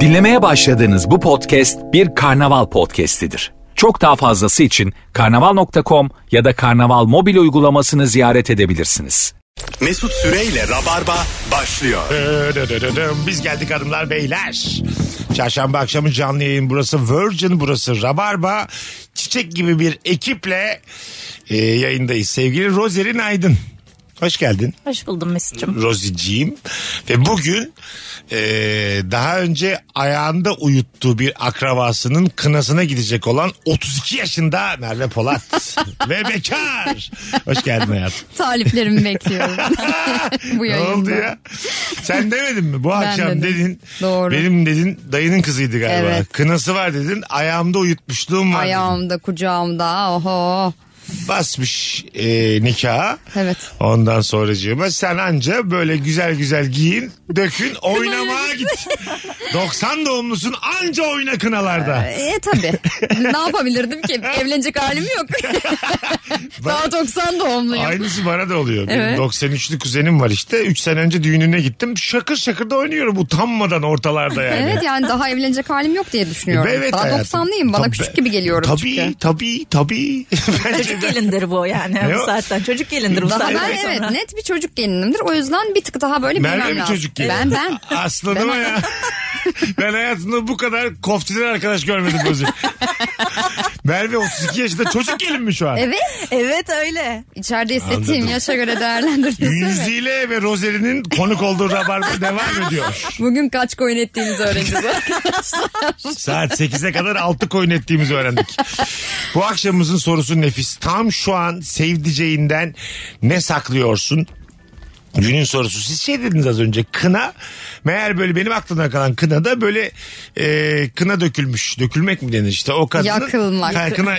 Dinlemeye başladığınız bu podcast bir karnaval podcastidir. Çok daha fazlası için karnaval.com ya da karnaval mobil uygulamasını ziyaret edebilirsiniz. Mesut Süreyle Rabarba başlıyor. Dödödödödüm. Biz geldik hanımlar beyler. Çarşamba akşamı canlı yayın burası Virgin burası Rabarba. Çiçek gibi bir ekiple e, yayındayız. Sevgili Rozerin Aydın. Hoş geldin Hoş buldum Mesut'cum. Roziciğim. Ve bugün e, daha önce ayağında uyuttuğu bir akrabasının kınasına gidecek olan 32 yaşında Merve Polat. Ve bekar. Hoş geldin hayatım. Taliplerimi bekliyorum. Bu Ne yayında. oldu ya? Sen demedin mi? Bu akşam dedim. dedin. Doğru. Benim dedin dayının kızıydı galiba. Evet. Kınası var dedin. Ayağımda uyutmuşluğum var. dedin. Ayağımda kucağımda oho. Basmış e, nikaha. Evet. Ondan sonracığıma sen anca böyle güzel güzel giyin, dökün, oynamaya git. 90 doğumlusun anca oyna kınalarda. E tabi. ne yapabilirdim ki? Evlenecek halim yok. Daha 90 doğumluyum. Aynısı bana da oluyor. Benim Evet. 93'lü kuzenim var işte. 3 sene önce düğününe gittim. Şakır şakır da oynuyorum utanmadan ortalarda yani. Evet yani daha evlenecek halim yok diye düşünüyorum. Evet daha hayatım. 90'lıyım bana Tabii. küçük gibi geliyorum Tabii çünkü. tabii tabii. Bence Çocuk gelindir bu yani Ne o? bu saatten. Çocuk gelindir bu Daha saatten ben sonra. evet net bir çocuk gelinimdir. O yüzden bir tık daha böyle Merve bilmem mi lazım. çocuk gibi? Ben ben. Aslanım Ben- ya. ben hayatımda bu kadar koftiden arkadaş görmedim gözüm. Merve 32 yaşında çocuk gelin mi şu an? Evet. Evet öyle. İçeride hissettiğim Anladım. yaşa göre değerlendirilmesi. mi? Yüzüyle ve Rozeri'nin konuk olduğu rabarba devam ediyor. Bugün kaç koyun ettiğinizi öğreneceğiz. Saat 8'e kadar 6 koyun ettiğimizi öğrendik. Bu akşamımızın sorusu nefis. Tam şu an sevdiceğinden ne saklıyorsun? Günün sorusu. Siz şey dediniz az önce kına. Meğer böyle benim aklımda kalan kına da böyle e, kına dökülmüş. Dökülmek mi denir işte o kadının. Yakılmak. Ha, kına,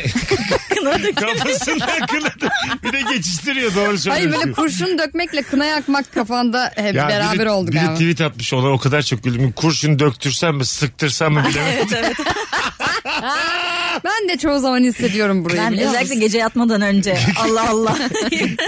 kafasından kına. dö- Bir de geçiştiriyor doğru Hayır söylüyorsun. böyle kurşun dökmekle kına yakmak kafanda hep Ya beraber biri, olduk biri ama. tweet atmış ona o kadar çok güldüm. Kurşun döktürsem mi sıktırsam mı bilemedim. Evet evet. Ben de çoğu zaman hissediyorum burayı Ben biliyor musun? özellikle gece yatmadan önce Allah Allah.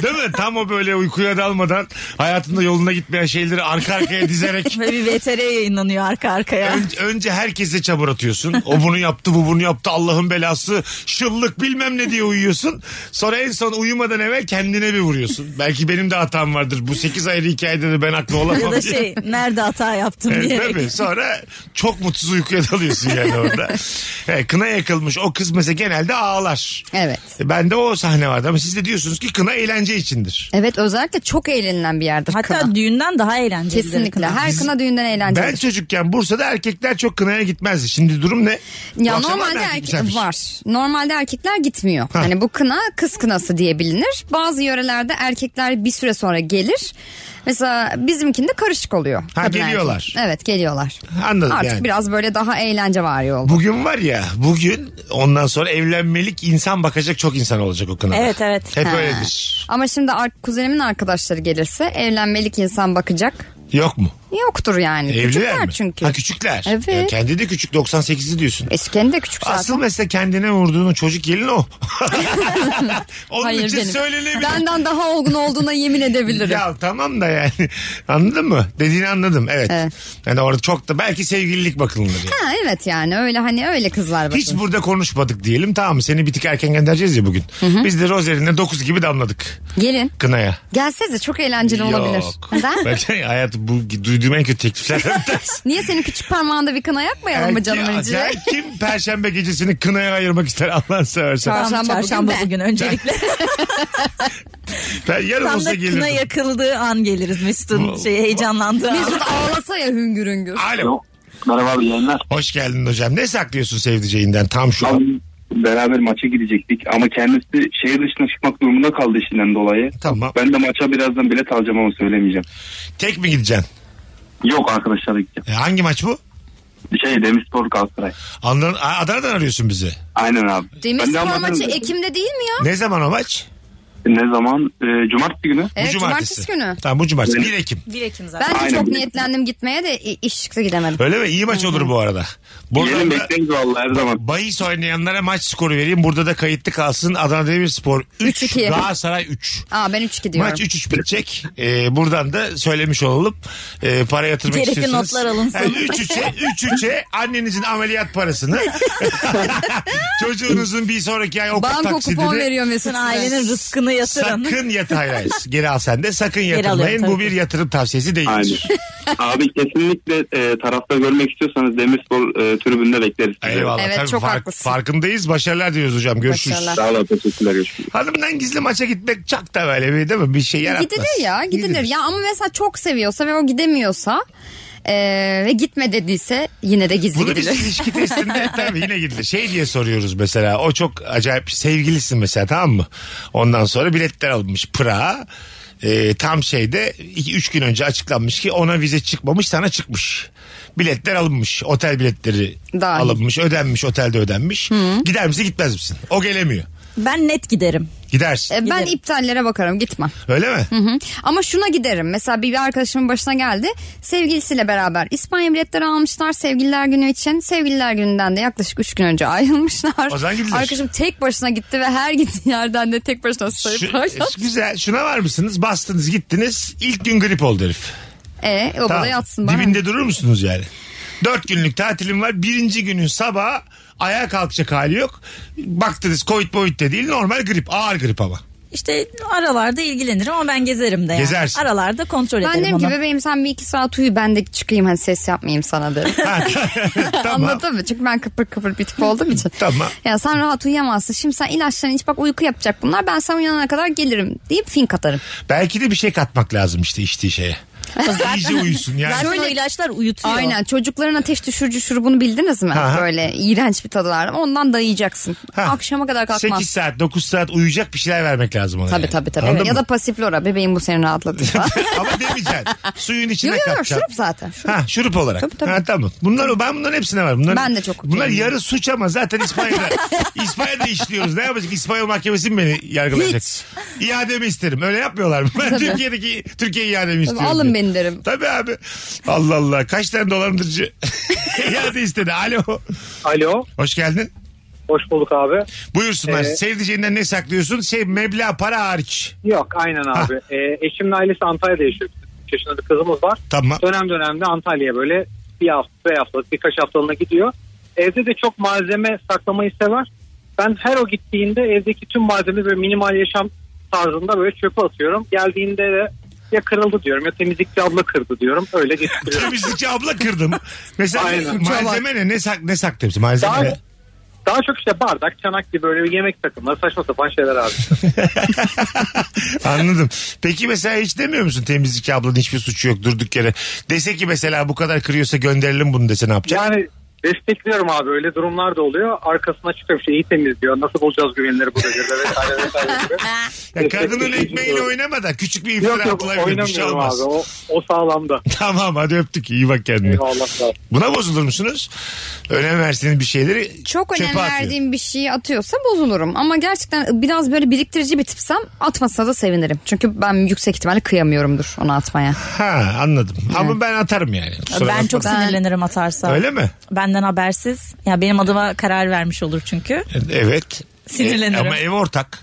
Değil mi? Tam o böyle uykuya dalmadan hayatında yoluna gitmeyen şeyleri arka arkaya dizerek Böyle bir VTR yayınlanıyor arka arkaya. ön- önce herkese çabur atıyorsun. O bunu yaptı bu bunu yaptı Allah'ın belası şıllık bilmem ne diye uyuyorsun. Sonra en son uyumadan evvel kendine bir vuruyorsun. Belki benim de hatam vardır. Bu 8 ayrı hikayede de ben haklı olamam. ya da diye. şey nerede hata yaptım Evet, diye. tabii. Sonra çok mutsuz uykuya dalıyorsun yani orada. Evet, kına yakılmış. O kız mesela genelde ağlar. E, Evet. Ben de o sahne vardı ama siz de diyorsunuz ki kına eğlence içindir. Evet özellikle çok eğlenilen bir yerdir Hatta kına. düğünden daha eğlenceli. Kesinlikle. Her kına düğünden eğlenceli. Ben çocukken Bursa'da erkekler çok kınaya gitmezdi. Şimdi durum ne? Bu ya akşam normalde erkek erkek misafir. var. Normalde erkekler gitmiyor. Ha. Hani bu kına kız kınası diye bilinir. Bazı yörelerde erkekler bir süre sonra gelir. Mesela bizimkinde karışık oluyor. Ha, kadın erkek. geliyorlar. Evet geliyorlar. Anladım Artık yani. biraz böyle daha eğlence var yol. Bugün var ya bugün ondan sonra evlenmelik insan bakacak çok insan olacak o kınada. Evet, evet. Hep Ha. öyledir. Ama şimdi ar- kuzenimin arkadaşları gelirse evlenmelik insan bakacak. Yok mu? Yoktur yani. Evliler Küçükler mi? çünkü. Ha küçükler. Evet. Ya kendi de küçük 98'i diyorsun. Eskiden de küçük zaten. Asıl mesela kendine vurduğun o çocuk gelin o. Onun Hayır için benim. söylenebilir. Benden daha olgun olduğuna yemin edebilirim. Ya tamam da yani anladın mı? Dediğini anladım evet. Evet. Yani orada çok da belki sevgililik bakılır. Yani. Ha evet yani öyle hani öyle kızlar bakın. Hiç burada konuşmadık diyelim tamam mı? Seni bir tık erken göndereceğiz ya bugün. Biz de Rozerin'le 9 gibi damladık Gelin. kınaya. Gelsenize çok eğlenceli olabilir. Neden? Belki hayatı bu duyduğum en kötü tekliflerden bir tanesi. Niye senin küçük parmağında bir kına yakmayalım mı Erke- canım önce? Erke- Kim perşembe gecesini kınaya ayırmak ister Allah'ını seversen. Tamam. Çarşamba, Çarşamba bugün çarşamba ben. bugün, öncelikle. Ben yarın Tam olsa da kına gelirim. yakıldığı an geliriz Mesut'un şey heyecanlandığı an. Mesut ağlasa ya hüngür hüngür. Alo. Alo. Merhaba abi yayınlar. Hoş geldin hocam. Ne saklıyorsun sevdiceğinden tam şu an? Abi beraber maça gidecektik ama kendisi şehir dışına çıkmak durumunda kaldı işinden dolayı. Tamam. Ben de maça birazdan bilet alacağım ama söylemeyeceğim. Tek mi gideceksin? Yok arkadaşlar gideceğim. E, hangi maç bu? Şey Demirspor Galatasaray. Andan, A- Adana'dan arıyorsun bizi. Aynen abi. Demir Ben de spor anlatırım maçı dedim. Ekim'de değil mi ya? Ne zaman o maç? Ne zaman? E, cumartesi günü. Evet, cumartesi günü. Tamam bu cumartesi. 1 Ekim. Bir Ekim zaten. Ben de Aynen. çok niyetlendim gitmeye de i- iş çıktı gidemedim. Öyle mi? İyi maç olur bu arada. Buradan Gelelim da bekleriz valla her zaman. bahis oynayanlara maç skoru vereyim. Burada da kayıtlı kalsın. Adana Demirspor 3, 3-2. Galatasaray 3. Aa ben 3-2 diyorum. Maç 3-3 bitecek. Ee, buradan da söylemiş olalım. Ee, para yatırmak Gerekli istiyorsanız. notlar alınsın. 3-3'e 3-3'e annenizin ameliyat parasını. Çocuğunuzun bir sonraki ay okul Banko kupon taksidini. veriyor Mesut. Bütün ailenin rızkını yatırın. Sakın yatır hayır, hayır. Geri al sen de sakın alıyorum yatırmayın. tabii Bu bir ki. yatırım tavsiyesi değil. Aynen. Abi kesinlikle e, tarafta görmek istiyorsanız Demirspor e, tribünde bekleriz. sizi. Eyvallah. Evet, Tabii çok fark- haklısın. Farkındayız. Başarılar diyoruz hocam. Görüşürüz. Başarılar. Sağ olun. Teşekkürler. Görüşmek üzere. Hanımdan gizli maça gitmek çok da böyle bir değil mi? Bir şey yaratmaz. Gidilir ya gidilir. Ya ama mesela çok seviyorsa ve o gidemiyorsa e, ve gitme dediyse yine de gizli Bunu biz gidilir. ilişki testinde tabii yine gidilir. Şey diye soruyoruz mesela. O çok acayip şey. sevgilisin mesela tamam mı? Ondan sonra biletler alınmış Pırağa. Ee, tam şeyde 3 gün önce açıklanmış ki ona vize çıkmamış sana çıkmış. Biletler alınmış. Otel biletleri Dahil. alınmış. Ödenmiş. Otelde ödenmiş. Gider misin gitmez misin? O gelemiyor. Ben net giderim. Gidersin. E, ben Giderim. iptallere bakarım gitmem. Öyle mi? Hı. Ama şuna giderim. Mesela bir, bir arkadaşımın başına geldi. Sevgilisiyle beraber İspanya biletleri almışlar sevgililer günü için. Sevgililer gününden de yaklaşık 3 gün önce ayrılmışlar. O zaman gidilir. Arkadaşım tek başına gitti ve her gittiği yerden de tek başına Şu- e, sayıp paylaştı. güzel. Şuna var mısınız? Bastınız gittiniz. İlk gün grip oldu herif. E, o Tamam. da yatsın bana. Dibinde durur musunuz yani? Dört günlük tatilim var. Birinci günün sabah ayağa kalkacak hali yok. Baktınız covid covid de değil normal grip ağır grip ama. İşte aralarda ilgilenirim ama ben gezerim de yani. Gezersin. Aralarda kontrol Ben ederim derim onu. ki bebeğim sen bir iki saat uyu ben de çıkayım hani ses yapmayayım sana derim. Tamam. Anladın mı? Çünkü ben kıpır kıpır bir tip olduğum için. Tamam. Ya sen rahat uyuyamazsın. Şimdi sen ilaçlarını iç bak uyku yapacak bunlar. Ben sen uyanana kadar gelirim deyip fink atarım. Belki de bir şey katmak lazım işte içtiği şeye. İyice uyusun yani. Zaten o Şöyle- ilaçlar uyutuyor. Aynen çocukların ateş düşürücü şurubunu bildiniz mi? Aha. Böyle iğrenç bir tadı var. Ondan dayayacaksın. Ha. Akşama kadar kalkmaz. 8 saat 9 saat uyuyacak bir şeyler vermek lazım ona. Tabii yani. tabii tabii. Anladın Evet. Ya mı? da pasiflora bebeğim bu seni rahatlatır. Yok Ama demeyeceksin. Suyun içine yok yok katacaksın. şurup zaten. Şurup. Ha şurup olarak. Tabii, tabii. Ha tamam. Bunlar ben bunların hepsine var. Bunların, Ben de çok Bunlar okeyim. yarı suç ama zaten İspanya'da. İspanya'da işliyoruz. Ne yapacak? İspanyol mahkemesi mi beni yargılayacak? İademi isterim. Öyle yapmıyorlar mı? Ben Tabii. Türkiye'deki Türkiye iademi istiyorum. Alın diye. beni derim. Tabii abi. Allah Allah. Kaç tane dolandırıcı iade istedi. Alo. Alo. Hoş geldin. Hoş bulduk abi. Buyursunlar. Ee, Sevdiceğinden ne saklıyorsun? Şey meblağ para hariç. Yok aynen abi. Ee, eşimin ailesi Antalya'da yaşıyor. 3 yaşında bir kızımız var. Tamam. Dönem dönemde Antalya'ya böyle bir hafta, bir haftalık birkaç haftalığına gidiyor. Evde de çok malzeme saklamayı sever. Ben her o gittiğinde evdeki tüm malzemeleri böyle minimal yaşam tarzında böyle çöpe atıyorum. Geldiğinde de ya kırıldı diyorum ya temizlikçi abla kırdı diyorum. Öyle geçiriyorum. Temizlikçi abla kırdım. Mesela Aynen. malzeme ne? Ne, sak ne saklıyorsun? Malzeme Daha, ne? daha çok işte bardak, çanak gibi böyle bir yemek takımları saçma sapan şeyler abi. Anladım. Peki mesela hiç demiyor musun temizlikçi ablanın hiçbir suçu yok durduk yere. Dese ki mesela bu kadar kırıyorsa gönderelim bunu dese ne yapacak? Yani destekliyorum abi öyle durumlar da oluyor. Arkasına çıkıyor işte iyi temizliyor. Nasıl bulacağız güvenleri bu devirde vesaire vesaire gibi. Ya, kadının destekleyici ekmeğiyle doğru. oynama da küçük bir Yok iftira yok atılabilir. Bir şey oynamıyorum olmaz. abi o, o sağlamda. Tamam hadi öptük iyi bak kendine. Eyvallah sağ ol. Buna bozulur musunuz? Önem verdiğiniz bir şeyleri Çok önem çöpe atıyor. verdiğim bir şeyi atıyorsa bozulurum. Ama gerçekten biraz böyle biriktirici bir tipsem atmasa da sevinirim. Çünkü ben yüksek ihtimalle kıyamıyorumdur onu atmaya. Ha anladım. Ama ben atarım yani. Kusura Ben bakma. çok Ben- sinirlenirim atarsa. Öyle mi? Benden habersiz. Ya benim adıma karar vermiş olur çünkü. Evet. Sinirlenirim. E, ama ev ortak.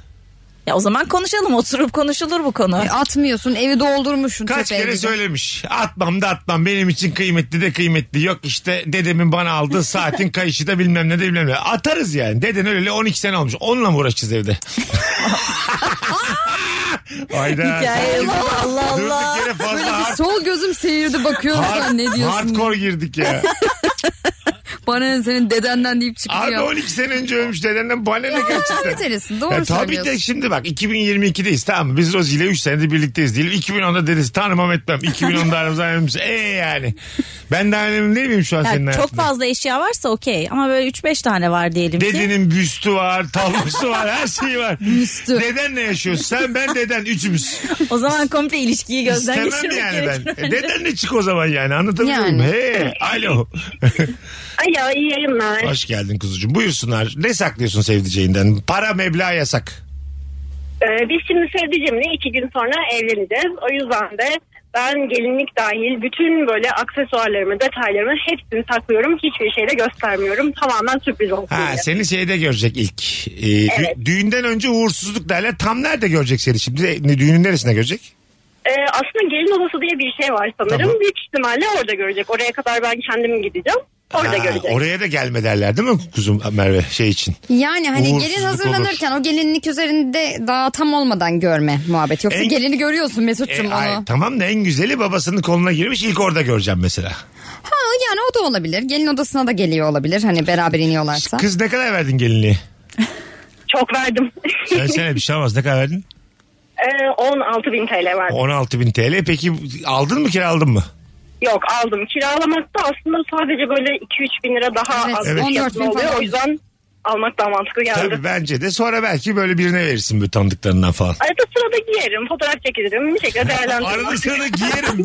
Ya o zaman konuşalım oturup konuşulur bu konu. E, Atmıyorsun evi doldurmuşsun. Kaç çöpe kere evi. söylemiş. Atmam da atmam. Benim için kıymetli de kıymetli. Yok işte dedemin bana aldığı saatin kayışı da bilmem ne de bilmem ne. Atarız yani. Deden öyle 12 sene olmuş. Onunla mı uğraşacağız evde? Hayda. Hikaye bu. Allah Allah. Durduk yere fazla hard, Sol gözüm seyirdi bakıyorum sen ne diyorsun? hardcore girdik ya. Bana ne senin dedenden deyip Abi çıkıyor. 12 sene önce ölmüş dedenden bana ne gerçekten. Enteresin, doğru Ya tabii de söylüyorsun. şimdi bak 2022'deyiz tamam mı? Biz Rozi ile 3 senedir birlikteyiz diyelim. 2010'da deriz tanımam etmem. 2010'da aramızda ayrılmış. Ee yani. Ben daha önemli değil miyim şu an Ya senin çok hayatında? fazla eşya varsa okey ama böyle 3-5 tane var diyelim ki. Dedenin büstü var, tablosu var, her şeyi var. Büstü. Dedenle yaşıyoruz. Sen, ben, deden. Üçümüz. O zaman komple ilişkiyi gözden İstemem geçirmek yani gerekir. ben. E, Dedenle çık o zaman yani. Anlatabiliyor muyum? Yani. Hey, alo. Alo iyi yayınlar. Hoş geldin kuzucuğum. Buyursunlar. Ne saklıyorsun sevdiceğinden? Para meblağ yasak. Ee, biz şimdi sevdiceğimle iki gün sonra evleneceğiz. O yüzden de ben gelinlik dahil bütün böyle aksesuarlarımı, detaylarımı hepsini saklıyorum. Hiçbir şey de göstermiyorum. Tamamen sürpriz olsun Ha diye. seni şeyde görecek ilk. Ee, dü- Evet. düğünden önce uğursuzluk derler. Tam nerede görecek seni şimdi? Ne- Düğünün neresinde görecek? Ee, aslında gelin odası diye bir şey var sanırım. Tamam. Büyük ihtimalle orada görecek. Oraya kadar ben kendim gideceğim. Orada Ha, görecek. Oraya da gelme derler değil mi kuzum Merve şey için? Yani hani Uğursuzluk gelin hazırlanırken o gelinlik üzerinde daha tam olmadan görme muhabbet. Yoksa En- gelini görüyorsun E, Mesut'cum onu. ay, tamam da en güzeli babasının koluna girmiş ilk orada göreceğim mesela. Ha yani o da olabilir. Gelin odasına da geliyor olabilir. Hani beraber iniyorlarsa. Kız ne kadar verdin gelinliği? Çok verdim. Söylesene bir şey olmaz ne kadar verdin? ee, 16 bin TL verdim. 16 bin TL peki aldın mı kiraladın mı? Yok aldım. Kiralamakta aslında sadece böyle 2-3 bin lira daha Evet, az evet. bir 14 bin fiyatına oluyor. falan. O yüzden almak daha mantıklı geldi. Tabii bence de sonra belki böyle birine verirsin böyle tanıdıklarından falan. Arada sırada giyerim, fotoğraf çekilirim, bir şekilde değerlendiririm. Arada sırada giyerim.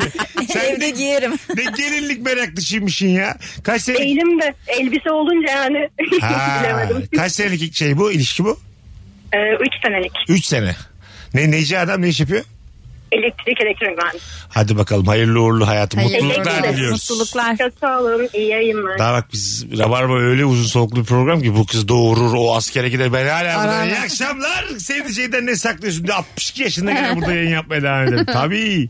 de. Sen Evde ne, giyerim. ne gelinlik meraklısıymışsın ya. Kaç senelik, Değilim de elbise olunca yani ha, bilemedim. kaç senelik şey bu ilişki bu? Ee, üç senelik 3 sene. Ne neci adam ne iş yapıyor? elektrik elektronik mühendisi. Hadi bakalım hayırlı uğurlu hayatım. Hayırlı Mutluluklar uğurlu. diliyoruz. Mutluluklar. Çok sağ olun, iyi yayınlar. Daha bak biz Rabarba öyle uzun soluklu bir program ki bu kız doğurur o askere gider ben hala burada. Arar. İyi akşamlar sevdiceğinden ne saklıyorsun diye 62 yaşında gene burada yayın yapmaya devam edelim. Tabii.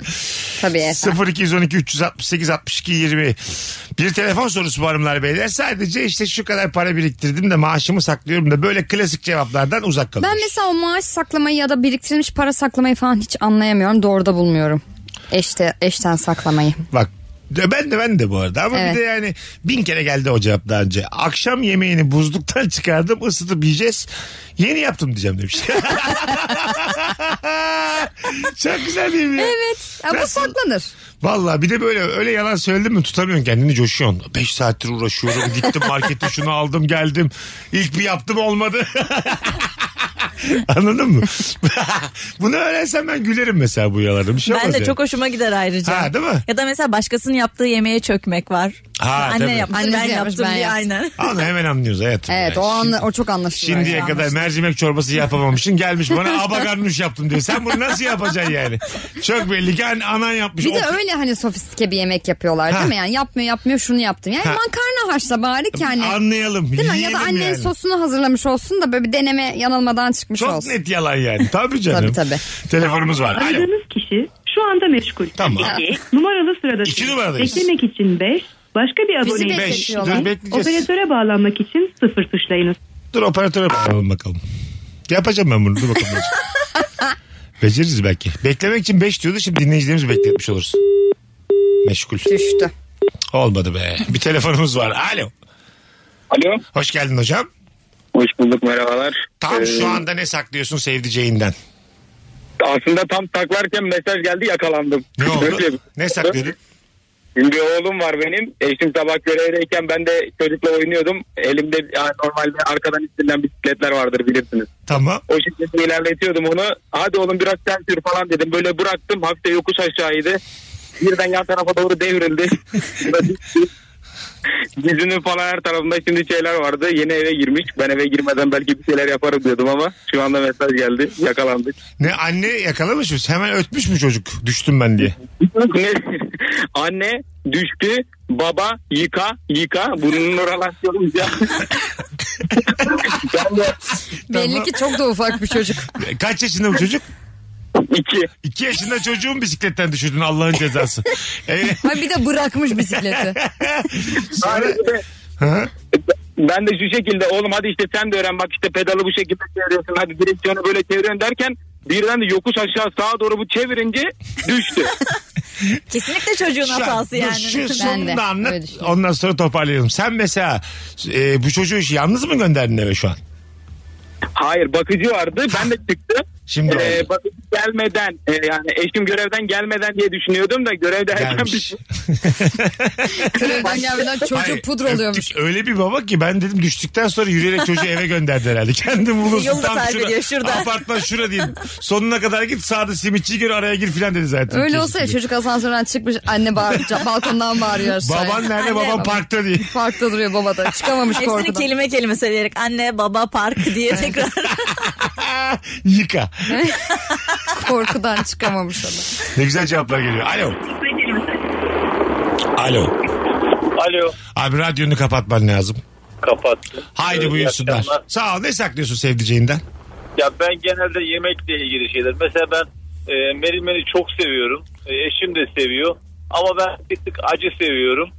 Tabii efendim. 0212 368 62 20 bir telefon sorusu var hanımlar beyler sadece işte şu kadar para biriktirdim de maaşımı saklıyorum da böyle klasik cevaplardan uzak kalın. Ben mesela o maaş saklamayı ya da biriktirilmiş para saklamayı falan hiç anlayamıyorum. Doğru da bulmuyorum. Eşte, eşten saklamayı. Bak de- ben de ben de bu arada ama Evet. bir de yani bin kere geldi o cevap daha önce. Akşam yemeğini buzluktan çıkardım ısıtıp yiyeceğiz. Yeni yaptım diyeceğim demiş. Çok güzel değil mi? ya? Evet. Ya bu Nasıl? saklanır. Valla bir de böyle öyle yalan söyledin mi tutamıyorsun kendini coşuyorsun. 5 saattir uğraşıyorum gittim markete şunu aldım geldim. İlk bir yaptım olmadı. Anladın mı? Bunu öğrensem ben gülerim mesela bu yalanı. Bir şey Ben olmaz de yani. çok hoşuma gider ayrıca. Ha, değil mi? Ya da mesela başkasının yaptığı yemeğe çökmek var. Ha, Anne tabii. yapmış, Annemiz ben yapmış, yaptım ben diye yaptım. aynen. Anla hemen anlıyoruz hayatım. Evet yani. o, anla, o çok anlaşılıyor. Şimdiye yani. kadar mercimek çorbası yapamamışsın gelmiş bana abagarnuş yaptım diyor. Sen bunu nasıl yapacaksın yani? Çok belli ki an- anan yapmış. Bir de O- öyle hani sofistike bir yemek yapıyorlar Ha. değil mi? Yani yapmıyor yapmıyor şunu yaptım. Yani Ha. makarna haşla bari ki hani. Anlayalım. Değil mi? Ya da yiyelim annen yani. sosunu hazırlamış olsun da böyle bir deneme yanılmadan çıkmış Çok olsun. net yalan yani. Tabii canım. Tabii, tabii. Telefonumuz var. Alo. Aradığınız kişi şu anda meşgul. Tamam. İki, numaralı sırada. İki numaradayız. Beklemek için 5, başka bir Bizi abone bekle- Beş. Bekliyorlar. Dur bekleyeceğiz. Operatöre bağlanmak için 0 tuşlayınız. Dur operatöre bakalım bakalım. Yapacağım ben bunu. Dur bakalım. Beceririz belki. Beklemek için 5 diyordu. Şimdi dinleyicilerimizi bekletmiş oluruz. Meşgul. Düştü. Olmadı be. Bir telefonumuz var. Alo. Alo. Hoş geldin hocam. Hoş bulduk merhabalar. Tam Ee, şu anda ne saklıyorsun sevdiceğinden? Aslında tam taklarken mesaj geldi yakalandım. Ne oldu? Şöyle- Ne saklıyordun? Şimdi oğlum var benim. Eşim sabah görevdeyken ben de çocukla oynuyordum. Elimde yani normalde arkadan istenilen bisikletler vardır bilirsiniz. Tamam. O şekilde ilerletiyordum onu. Hadi oğlum biraz sen sür falan dedim. Böyle bıraktım. Hafifte yokuş aşağıydı. Birden yan tarafa doğru devrildi. Dizinin falan her tarafında şimdi şeyler vardı. Yeni eve girmiş. Ben eve girmeden belki bir şeyler yaparım diyordum ama şu anda mesaj geldi. Yakalandık. Ne anne yakalamış mı? Hemen ötmüş mü çocuk? Düştüm ben diye. Ne- Anne düştü. Baba yıka yıka. Bunun oralasyonu ya. ben de Belli ki çok da ufak bir çocuk. E, Kaç yaşında bu çocuk? iki. İki yaşında çocuğun bisikletten düşürdün Allah'ın cezası. Evet. Ha bir de bırakmış bisikleti. Sonra... Hı? Ben de şu şekilde oğlum hadi işte sen de öğren bak işte pedalı bu şekilde çeviriyorsun hadi direksiyonu böyle çeviriyorsun derken birden de yokuş aşağı sağa doğru bu çevirince düştü. Kesinlikle çocuğun Şu an- hatası dur, yani. Şu Ben sonunu de, da anlat. öyle düşünüyorum. Ondan sonra toparlayalım. Sen mesela e, bu çocuğu işi yalnız mı gönderdin eve şu an? Hayır bakıcı vardı ben de çıktım. Şimdi Ee, oldu. bakıcı gelmeden e, yani eşim görevden gelmeden diye düşünüyordum da görevde erken Gelmiş. bitti. Kırıldan gelmeden Hayır, hani çocuk pudra oluyormuş. öptük. Öyle bir baba ki ben dedim düştükten sonra yürüyerek çocuğu eve gönderdi herhalde. Kendim bulursun. Yolunu tam tarif şura, ediyor, şurada. Apartman şura diyeyim. Sonuna kadar git sağda simitçi gör araya gir filan dedi zaten. Öyle Kesin olsa ya dedi. çocuk asansörden çıkmış anne bağır, balkondan bağırıyor. aşağıya. Baban nerede Anne, baban baba. parkta diye. Parkta duruyor baba da çıkamamış Hepsini korkudan. kelime kelime söyleyerek anne baba park diye tekrar Yıka. Korkudan çıkamamış adam. Ne güzel cevaplar geliyor. Alo. Alo. Alo. Abi radyonu kapatman lazım. Kapattı. Haydi Evet, iyi buyursunlar. akşamlar. Sağ ol. Ne saklıyorsun sevdiceğinden? Ya ben genelde yemekle ilgili şeyler. Mesela ben e, merimeni çok seviyorum. E, eşim de seviyor. Ama ben bir tık acı seviyorum.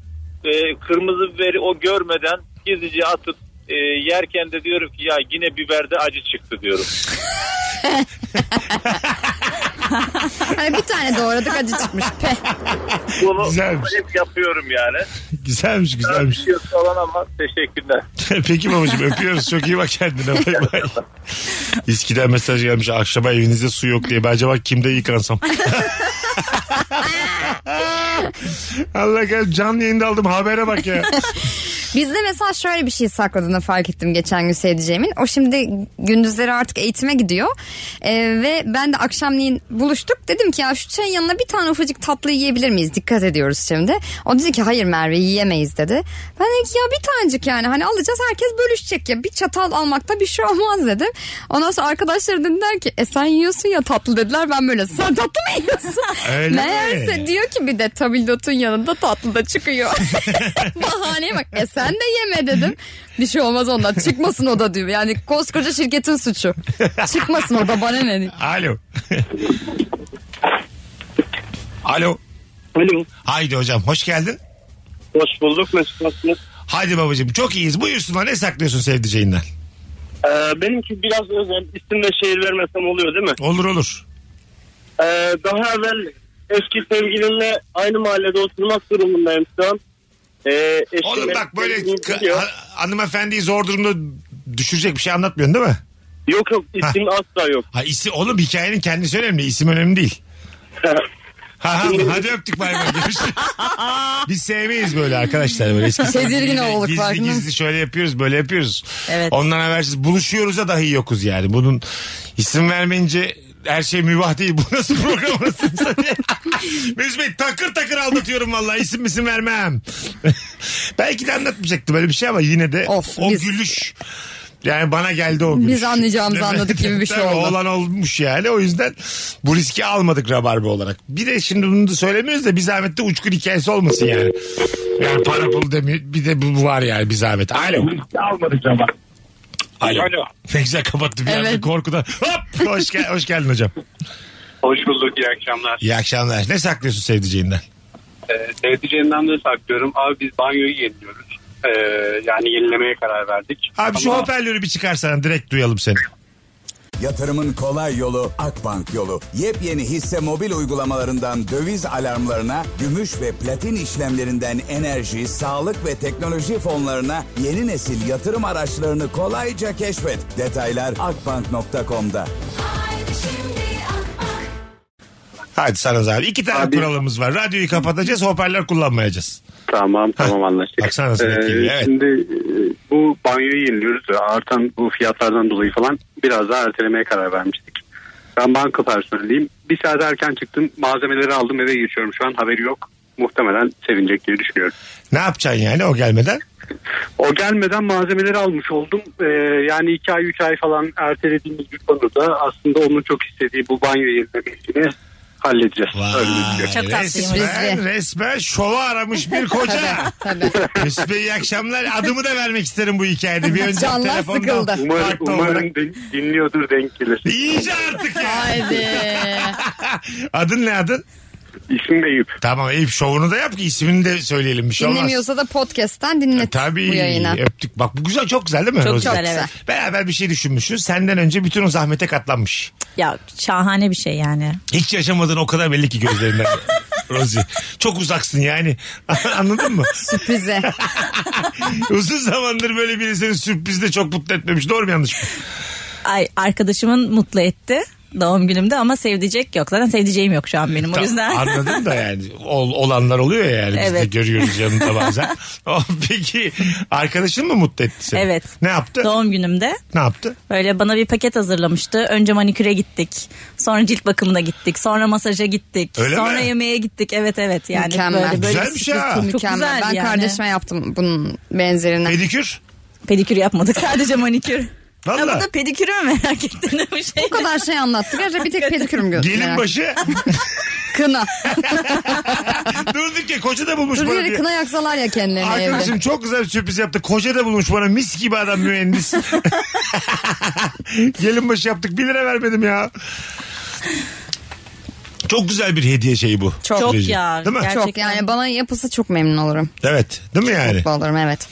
E, kırmızı biberi o görmeden gizlice atıp e, yerken de diyorum ki ya yine biberde acı çıktı diyorum. Hani bir tane doğradık acı çıkmış. Peh. Bunu Güzelmiş. hep yapıyorum yani. şey Güzelmiş güzelmiş. Yok falan ama teşekkürler. Peki babacığım öpüyoruz. Çok iyi bak kendine. Bay bay. İSKİ'den mesaj gelmiş. Akşama evinizde su yok diye. Ben acaba kimde yıkansam? Allah kahretsin. Canlı yayında aldım. Habere bak ya. Bizde mesela şöyle bir şey sakladığını fark ettim geçen gün sevdiceğimin. O şimdi gündüzleri artık eğitime gidiyor. Ee, ve ben de akşamleyin buluştuk. Dedim ki ya şu çayın yanına bir tane ufacık tatlı yiyebilir miyiz? Dikkat ediyoruz şimdi. O dedi ki hayır Merve yiyemeyiz dedi. Ben dedim ki ya bir tanecik yani hani alacağız herkes bölüşecek ya. Bir çatal almakta bir şey olmaz dedim. Ondan sonra arkadaşları dediler ki e sen yiyorsun ya tatlı dediler. Ben böyle sen tatlı mı yiyorsun? Öyle mi? Meğerse diyor ki bir de tabildotun yanında tatlı da çıkıyor. Bahaneye bak. E sen de yeme dedim. Bir şey olmaz ondan. Çıkmasın o da diyor. Yani koskoca şirketin suçu. Çıkmasın o da bana ne? Alo. Alo. Alo. Haydi hocam. Hoş geldin. Hoş bulduk Mesut nasılsınız? Haydi babacığım. Çok iyiyiz. Buyursunlar. Ne saklıyorsun sevdiceğinden? Ee, benimki biraz özel. İsim ve şehir vermesem oluyor değil mi? Olur olur. Ee, daha evvel eski sevgilimle aynı mahallede oturmak durumundayım şu an. Ee, eşim Oğlum eski bak böyle sevgilimi ka- biliyor. ha- hanımefendiyi zor durumda düşürecek bir şey anlatmıyorsun değil mi? Yok yok isim asla yok. Ha isim, oğlum hikayenin kendisi önemli. İsim önemli değil. Ha, ha, hadi öptük bay bay. Görüşürüz. Biz sevmeyiz böyle arkadaşlar böyle eski Tedirgin olduk gizli, farkında gizli mısın? şöyle yapıyoruz böyle yapıyoruz. Evet. Ondan habersiz buluşuyoruz da dahi yokuz yani. Bunun isim vermeyince her şey mübah değil. Bu nasıl program arasında? Mesut Bey takır takır aldatıyorum vallahi isim isim vermem. Belki de anlatmayacaktı böyle bir şey ama yine de Of, o biz- gülüş yani bana geldi o gülüş. Biz anlayacağımızı Değil mi? anladık gibi bir şey Tabii, oldu. Olan olmuş yani o yüzden bu riski almadık rabarbe olarak. Bir de şimdi bunu da söylemiyoruz da bir zahmet de uçkun hikayesi olmasın yani. Yani para pul demiyor bir de bu var yani bir zahmet. Alo. Alo. Alo. Ne güzel kapattı bir anda Evet. korkudan. Hop hoş, gel- hoş geldin hocam. Hoş bulduk iyi akşamlar. İyi akşamlar. Ne saklıyorsun sevdiceğinden? Ee, sevdiceğimden de saklıyorum. Abi biz banyoyu yeniliyoruz. Ee, yani yenilemeye karar verdik. Abi şu Ama- hoparlörü bir çıkarsana direkt duyalım seni. Yatırımın kolay yolu Akbank yolu. Yepyeni hisse mobil uygulamalarından döviz alarmlarına, gümüş ve platin işlemlerinden enerji, sağlık ve teknoloji fonlarına yeni nesil yatırım araçlarını kolayca keşfet. Detaylar akbank.com'da. Hadi sana abi. İki tane Abi- kuralımız var. Radyoyu kapatacağız hoparlör kullanmayacağız. Tamam tamam anlaştık. Ee, baksana nasıl etkili, evet. Şimdi e, bu banyoyu yeniliyoruz. Artan bu fiyatlardan dolayı falan biraz daha ertelemeye karar vermiştik. Ben banka personeliyim. Bir saat erken çıktım. Malzemeleri aldım eve geçiyorum şu an. Haberi yok. Muhtemelen sevinecek diye düşünüyorum. Ne yapacaksın yani o gelmeden? O gelmeden malzemeleri almış oldum. Ee, yani 2 ay 3 ay falan ertelediğimiz bir konuda aslında onun çok istediği bu banyo yenilemesini halledeceğiz. Öyle gözüküyor. Çok tatlıymış. resmen, resmen şova aramış bir koca. Tabii. Mesut Bey iyi akşamlar. Adımı da vermek isterim bu hikayede. Bir önce Canlar telefonda. sıkıldı. Umarım, umarım din- dinliyordur denk gelir. İyice artık ya. Haydi. adın ne adın? İsim Eyüp. Tamam Eyüp şovunu da yap ki ismini de söyleyelim. Bir şey olmaz. E, Dinlemiyorsa da podcast'ten dinlet Tabii. bu yayına. Öptük. Bak bu güzel çok güzel değil mi? Çok Rozi? güzel, evet. Beraber bir şey düşünmüşüz. Senden önce bütün o zahmete katlanmış. Ya şahane bir şey yani. Hiç yaşamadığın o kadar belli ki gözlerinden. Rozi. Çok uzaksın yani. Anladın mı? Sürprize. Uzun zamandır böyle biri seni sürprizle çok mutlu etmemiş. Doğru mu yanlış mı? Ay arkadaşımın mutlu etti doğum günümde ama sevdicek yok. Zaten sevdiceğim yok şu an benim o Ta- yüzden. Anladım da yani Ol- olanlar oluyor ya yani biz de Evet. görüyoruz yanında bazen. O, peki arkadaşın mı mutlu etti seni? Evet. Ne yaptı? Doğum günümde Ne yaptı? böyle bana bir paket hazırlamıştı. Önce maniküre gittik. Sonra cilt bakımına gittik. Sonra masaja gittik. Öyle sonra mi? yemeğe gittik. Evet evet yani Mükemmel. böyle böyle Güzelmiş ha. Çok Mükemmel. güzel ben yani. kardeşime yaptım bunun benzerini. Pedikür? Pedikür yapmadık sadece manikür. Ha, bu Valla. da pedikürü mü merak ettin bu şey? Bu kadar şey anlattık. Ayrıca bir tek pedikürüm gördüm. Gelin başı Kına. durduk ya koca da bulmuş Dur bana yere diye. kına yaksalar ya kendilerini evde. Arkadaşım çok güzel bir sürpriz yaptı. Koca da bulmuş bana mis gibi adam mühendis. Gelin başı yaptık. 1 lira vermedim ya. Çok güzel bir hediye şeyi bu. Çok. Çok ya, Değil mi? gerçekten. Çok yani bana yapılsa çok memnun olurum. Evet. Değil mi yani? Mutlu olurum evet.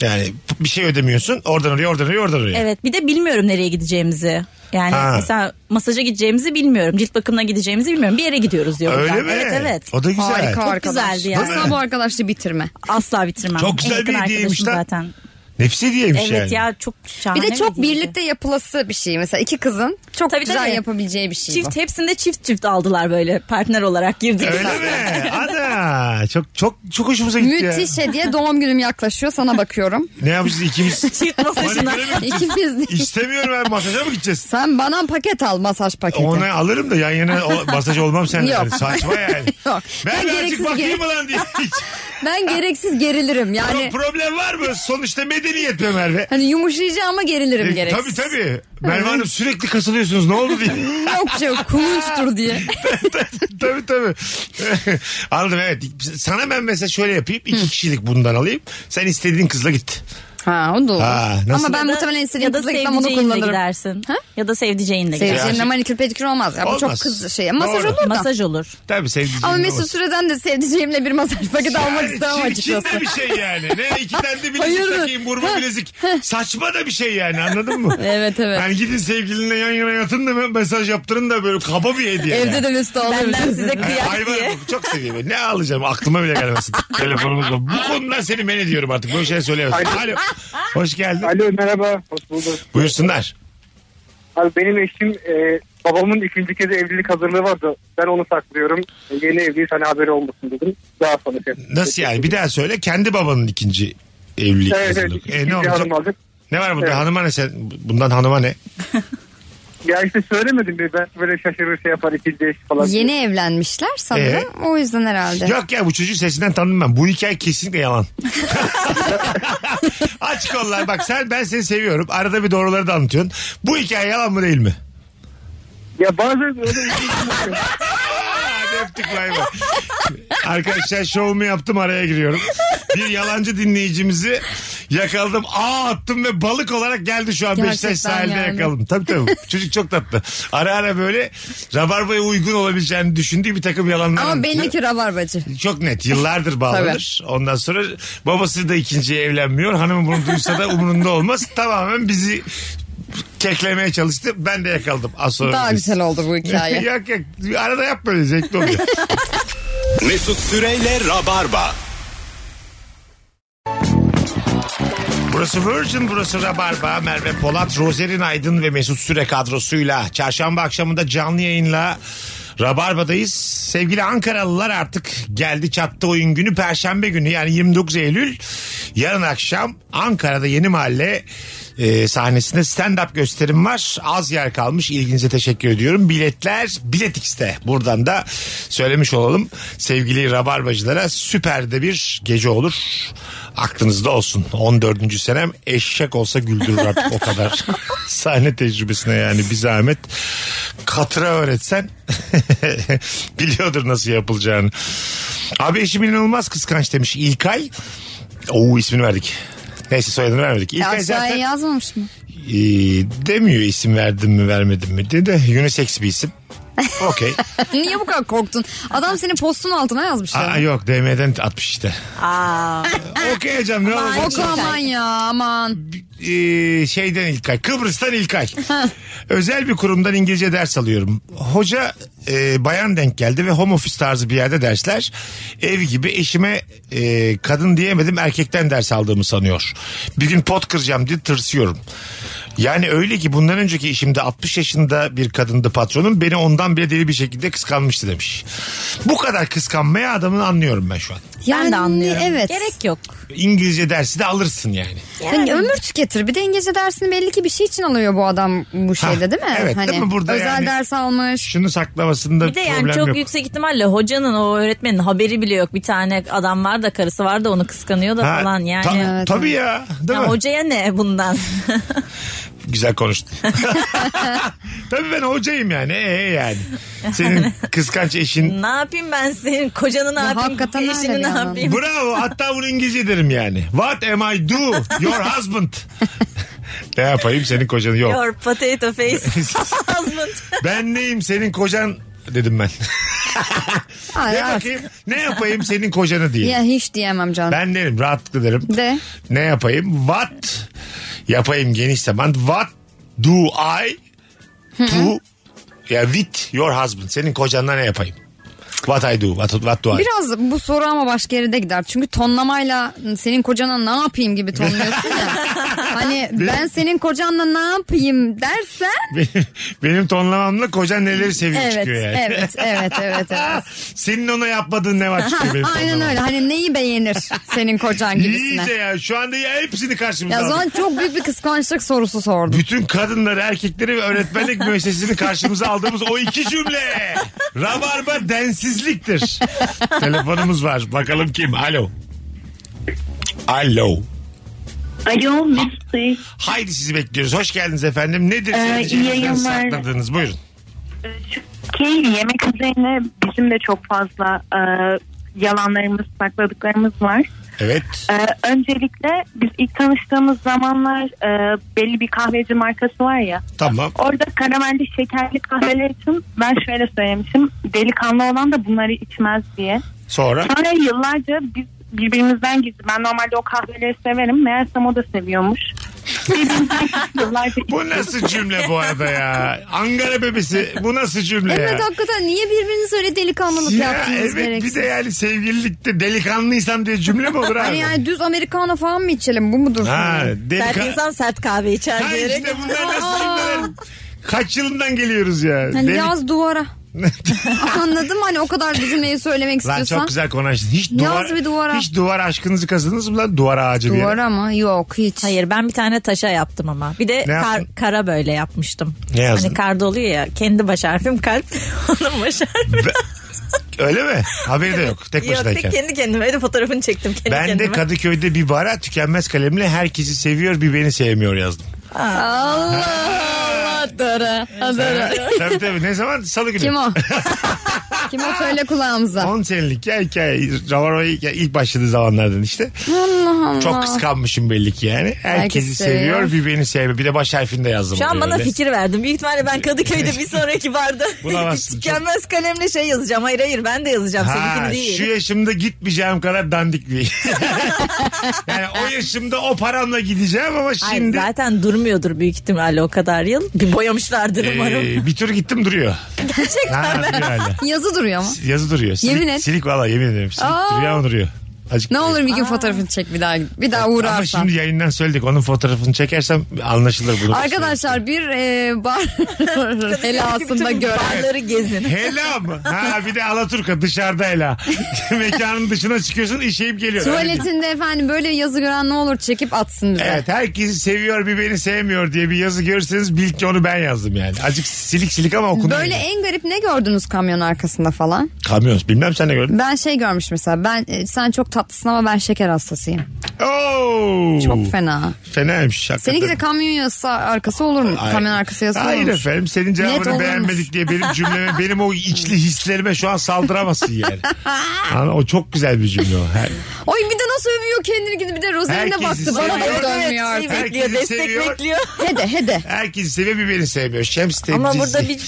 Yani bir şey ödemiyorsun. Oradan oraya, oradan oraya, oradan oraya. Evet bir de bilmiyorum nereye gideceğimizi. Yani Ha. mesela masaja gideceğimizi bilmiyorum. Cilt bakımına gideceğimizi bilmiyorum. Bir yere gidiyoruz diyor. Öyle buradan. mi? Evet evet. O da güzel. Harika Çok arkadaş. güzeldi ya. Asla bu arkadaşla bitirme. Asla bitirmem. Çok güzel En yakın bir hediyeymiş arkadaşım lan. şey. zaten. Nefis hediyeymiş Evet yani. ya çok şahane Bir de çok hediyeydi. birlikte yapılası bir şey. Mesela iki kızın çok Tabii, güzel tabii. yapabileceği bir şey bu. Çift hepsinde çift çift aldılar böyle partner olarak girdik. Öyle mi? Ana çok çok çok hoşumuza gitti Müthiş ya. hediye doğum günüm yaklaşıyor sana bakıyorum. Ne yapacağız ikimiz? Çift masajına. Maniküre mi? İkimiz de- İstemiyorum ben masaja mı gideceğiz? Sen bana paket al masaj paketi. Ona alırım da yan yana o, masaj olmam sen. Yok. Yani. Saçma yani. Yok. Ben, Ben birazcık gereksiz bakayım gerek- mı lan diye. Hiç. Ben gereksiz gerilirim yani. Pro- problem var mı? Sonuçta medeniyet be Merve. Hani yumuşayacağım ama gerilirim E, gereksiz. Tabii tabii. Merve Hanım sürekli kasılıyorsunuz. Ne oldu diye. Yok yok kulunçtur diye. tabii tabii. Anladım evet. Sana ben mesela şöyle yapayım. İki kişilik bundan alayım. Sen istediğin kızla git. Ha o da olur. Ha, nasıl? Ama ben Ya da- muhtemelen istediğim ya da kızla gitmem onu sevdiceğinle kullanırım. gidersin. Ya da sevdiceğinle gidersin. Sevdiceğinle manikür pedikür olmaz. Ya, bu çok Olmaz. kız şey. Masaj Doğru. olur da. Masaj olur. Tabii sevdiceğin Ama de Mesut olur. Süre'den de sevdiceğimle bir masaj paketi almak Yani istemem çirkin açıkçası. de bir şey yani. Ne ikiden de bilezik Hayır. takayım burma Ha. bilezik. Saçma da bir şey yani anladın mı? Evet, evet. Yani gidin sevgilinle yan yana yatın da mesaj yaptırın da böyle kaba bir hediye. yani. Evde de Mesut alabilir. Benden size Yani kıyak hayvan diye. koku çok seviyorum. Ne alacağım aklıma bile gelmesin. Telefonumuzda. Bu konudan seni men ediyorum artık. Böyle şey söyleyemezsin. Alo. Hoş geldin. Alo merhaba. Hoş bulduk. Buyursunlar. Abi benim eşim e, babamın ikinci kez evlilik hazırlığı vardı. Ben onu saklıyorum. E, yeni evliyiz hani haberi olmasın dedim. Daha sonra şey. Nasıl yani? Bir daha söyle. Kendi babanın ikinci evlilik Evet evet. hazırlık. E, ikinci ne olacak? hanım aldık. Ne var burada? Evet. Hanıma ne sen? Bundan hanıma ne? Ya işte söylemedim bir ben böyle şaşırır şey yapar ikinci eş falan. Yeni evlenmişler sanırım. O yüzden herhalde. Yok Ee? ya bu çocuğu sesinden tanıdım ben. Bu hikaye kesinlikle yalan. Aç kollar bak sen ben seni seviyorum. Arada bir doğruları da anlatıyorsun. Bu hikaye yalan mı değil mi? Ya bazen öyle Hadi öptük bay bay. Arkadaşlar şovumu yaptım araya giriyorum. Bir yalancı dinleyicimizi yakaladım. Aa attım ve balık olarak geldi şu an Gerçekten Beşiktaş sahilde yani. yakaladım. Tabii tabii. Çocuk çok tatlı. Ara ara böyle rabarbaya uygun olabileceğini düşündüğü bir takım yalanlar. Ama anlatıyor. belli ki rabarbacı. Çok net. Yıllardır bağlıdır. Ondan sonra babası da ikinciye evlenmiyor. Hanımı bunu duysa da umurunda olmaz. Tamamen bizi keklemeye çalıştı. Ben de yakaladım. Az sonra Daha biz- güzel oldu bu hikaye. yok yok. Arada yap böyle zevkli oluyor. Mesut Süreyle Rabarba. burası Virgin, burası Rabarba. Merve Polat, Rozerin Aydın ve Mesut Süre kadrosuyla. Çarşamba akşamında canlı yayınla Rabarba'dayız. Sevgili Ankaralılar artık geldi çattı oyun günü. Perşembe günü yani 29 Eylül. Yarın akşam Ankara'da Yeni Mahalle e, sahnesinde stand-up gösterim var. Az yer kalmış. İlginize teşekkür ediyorum. Biletler Bilet X'te. Buradan da söylemiş olalım. Sevgili Rabarbacılara süper de bir gece olur. Aklınızda olsun. 14. senem eşek olsa güldürür artık o kadar. Sahne tecrübesine yani bir zahmet. Katıra öğretsen biliyordur nasıl yapılacağını. Abi eşim inanılmaz kıskanç demiş İlkay. Oo ismini verdik. Neyse soyadını vermedik. E, İlkay Aşağıya zaten yazmamış mı? e, demiyor isim verdim mi vermedim mi diye de unisex bir isim. Okey. Niye bu kadar korktun? Adam senin postun altına yazmış Aa, ya. yok DM'den atmış işte. Aa, Okey hocam ne olacak? Yok aman ya aman. Ee, şeyden İlkay. Kıbrıs'tan İlkay. Özel bir kurumdan İngilizce ders alıyorum. Hoca e, bayan denk geldi ve home office tarzı bir yerde dersler. Ev gibi eşime e, kadın diyemedim erkekten ders aldığımı sanıyor. Bir gün pot kıracağım diye tırsıyorum. Yani öyle ki bundan önceki işimde 60 yaşında bir kadındı patronum. Beni ondan bile deli bir şekilde kıskanmıştı demiş. Bu kadar kıskanmaya adamını anlıyorum ben şu an. Yani, ben de anlıyorum. Evet. Gerek yok. İngilizce dersi de alırsın yani. Hani ömür tüketir. Bir de İngilizce dersini belli ki bir şey için alıyor bu adam bu şeyde değil mi? evet, hani değil mi? Burada özel yani- ders almış. Şunu saklamasında Bir de yani problem çok yok. yüksek ihtimalle hocanın o öğretmenin haberi bile yok. Bir tane adam var da karısı var da onu kıskanıyor da Ha, falan yani. ta- Ya Evet, tabii ya. Değil mi? hocaya ne bundan? Güzel konuştun. Tabii ben hocayım yani. Ee yani. Senin kıskanç eşin. Ne yapayım ben senin kocanı ne Ya yapayım? hakikaten öyle eşini bir ne adam. yapayım? Bravo. Hatta bunu İngilizce derim yani. What am I do? Your husband. ne yapayım senin kocanı? Yok. Your potato face husband. Ben neyim senin kocan dedim ben. Ay, ne artık- bakayım ne yapayım senin kocanı diye. Ya hiç diyemem canım. Ben derim rahatlıkla derim. De. Ne yapayım? What yapayım geniş zaman. What do I to ya with your husband. Senin kocanla ne yapayım? What I do, what, what do I? Biraz bu soru ama başka yere de gider. Çünkü tonlamayla senin kocana ne yapayım gibi tonluyorsun ya. hani ben senin kocanla ne yapayım dersen Benim, benim tonlamamla kocan neleri seviyor evet, çıkıyor yani. evet, evet, evet, evet. Senin ona yapmadığın ne var çıkıyor benim Aynen tonlamam. öyle. Hani neyi beğenir senin kocan gibisine. İyice ya şu anda ya hepsini karşımıza Ya aldık. zaman çok büyük bir kıskançlık sorusu sordum. Bütün kadınları, erkekleri ve öğretmenlik müessesesini karşımıza aldığımız o iki cümle. Rabarba densizliktir. Telefonumuz var. Bakalım kim? Alo. Alo. Alo Mesut Bey. Haydi sizi bekliyoruz. Hoş geldiniz efendim. Nedir Ee, iyi sevdiceğinizden yayınlar. sakladığınız? Buyurun. Ki Ee, yemek üzerine bizim de çok fazla e, yalanlarımız, sakladıklarımız var. Evet. E, öncelikle biz ilk tanıştığımız zamanlar e, belli bir kahveci markası var ya. Tamam. Orada karamelli şekerli kahveler için ben şöyle söylemişim. Delikanlı olan da bunları içmez diye. Sonra. Sonra yıllarca biz birbirimizden gizli. Ben normalde o kahveleri severim. Meğersem o da seviyormuş. Birbirimizden gizli yıllarca Bu nasıl cümle bu arada ya? Angara bebesi. Bu nasıl cümle Evet ya? hakikaten niye birbirinize öyle delikanlılık Ya yaptınız evet bir gereksiz? de yani sevgililikte delikanlıysam diye cümle mi olur abi? Hani yani düz Amerikano falan mı içelim bu mudur? Ha, Sert delikan... insan sert kahve içer Ha diyerek. işte bunlar nasıl cümleler? Kaç yılından geliyoruz ya? Hani Delik- yaz duvara. Anladım hani o kadar bir cümleyi söylemek Lan istiyorsan. çok güzel konuştun. Hiç Yaz duvar, bir duvara. Hiç duvar aşkınızı kazandınız mı lan? Duvara ağacı bir yere. Duvara mı? Yok hiç. Hayır ben bir tane taşa yaptım ama. Bir de Ne kar- yaptın? kara böyle yapmıştım. Ne yazdın? Hani karda oluyor ya kendi baş harfim kalp onun baş harfi. Ve- Öyle mi? Haberi de yok. Tek Yok tek başınayken. kendi kendime de fotoğrafını çektim kendi Ben de kendime. Kadıköy'de bir bara tükenmez kalemle herkesi seviyor bir beni sevmiyor yazdım. Allah Allah dara. Dara. tabii tabii ne zaman? Salı günü. Kim o? Kim o söyle kulağımıza. 10 senelik ya hikaye. Ravarva'ya ilk, ilk başladığı zamanlardan işte. Allah Allah. Çok kıskanmışım belli ki yani. Herkesi Herkes seviyor seviyor. bir beni sevmiyor. Bir de baş harfini de yazdım. Şu an oraya bana öyle. Ee, fikir verdim. Büyük ihtimalle ben Kadıköy'de bir sonraki barda Bulamazsın. tükenmez kalemle şey yazacağım. Hayır hayır ben de yazacağım. Ha, Seninkini değil. şu yaşımda gitmeyeceğim kadar dandik bir. yani o yaşımda o paramla gideceğim ama Hayır, şimdi zaten durmuyordur büyük ihtimalle o kadar yıl. Bir boyamışlardır umarım. e, bir tur gittim duruyor. Ha, duruyor hala. Yazı duruyor ama. Yazı duruyor. Silik, Yemin et. Silik valla yemin ederim. Silik Aa. duruyor ama duruyor. Azıcık Ne duruyor. olur bir gün fotoğrafını çek bir daha. Bir daha Ama uğrarsan. şimdi yayından söyledik. Onun fotoğrafını çekersem anlaşılır bunu. Arkadaşlar bir e, bar helasında Bütün gör. barları gezin. Hela mı? Ha bir de Alaturka dışarıda hela. Mekanın dışına çıkıyorsun işeyip geliyor. Öyle bir- Tuvaletinde efendim böyle yazı gören ne olur çekip atsın bize. Evet herkesi seviyor bir beni sevmiyor diye bir yazı görürseniz bil ki onu ben yazdım yani. Acık silik silik ama okunuyor. Böyle en garip ne gördünüz kamyon arkasında falan? Kamyon bilmem sen ne gördün. Ben şey görmüş mesela ben e, sen çok tatlısın ama ben şeker hastasıyım. Oo. Çok fena. Fenaymış. hakikaten. Seninki de kamyon yasa arkası olur mu? Ay- Kamyon arkası yasa Hayır olur mu? efendim senin Net cevabını olurmuş. beğenmedik diye benim cümleme benim o içli hislerime şu an saldıramazsın yani. Ana, o çok güzel bir cümle o. Her, Oy bir de nasıl övüyor kendini gidip bir de Rozeline Herkesi baktı bana da seviyor. dönmüyor Evet, artık. Herkesi bekliyor, destek seviyor. bekliyor. Hede hede. herkes seviyor bir beni sevmiyor. Şems tepkisi. Ama burada bir, bir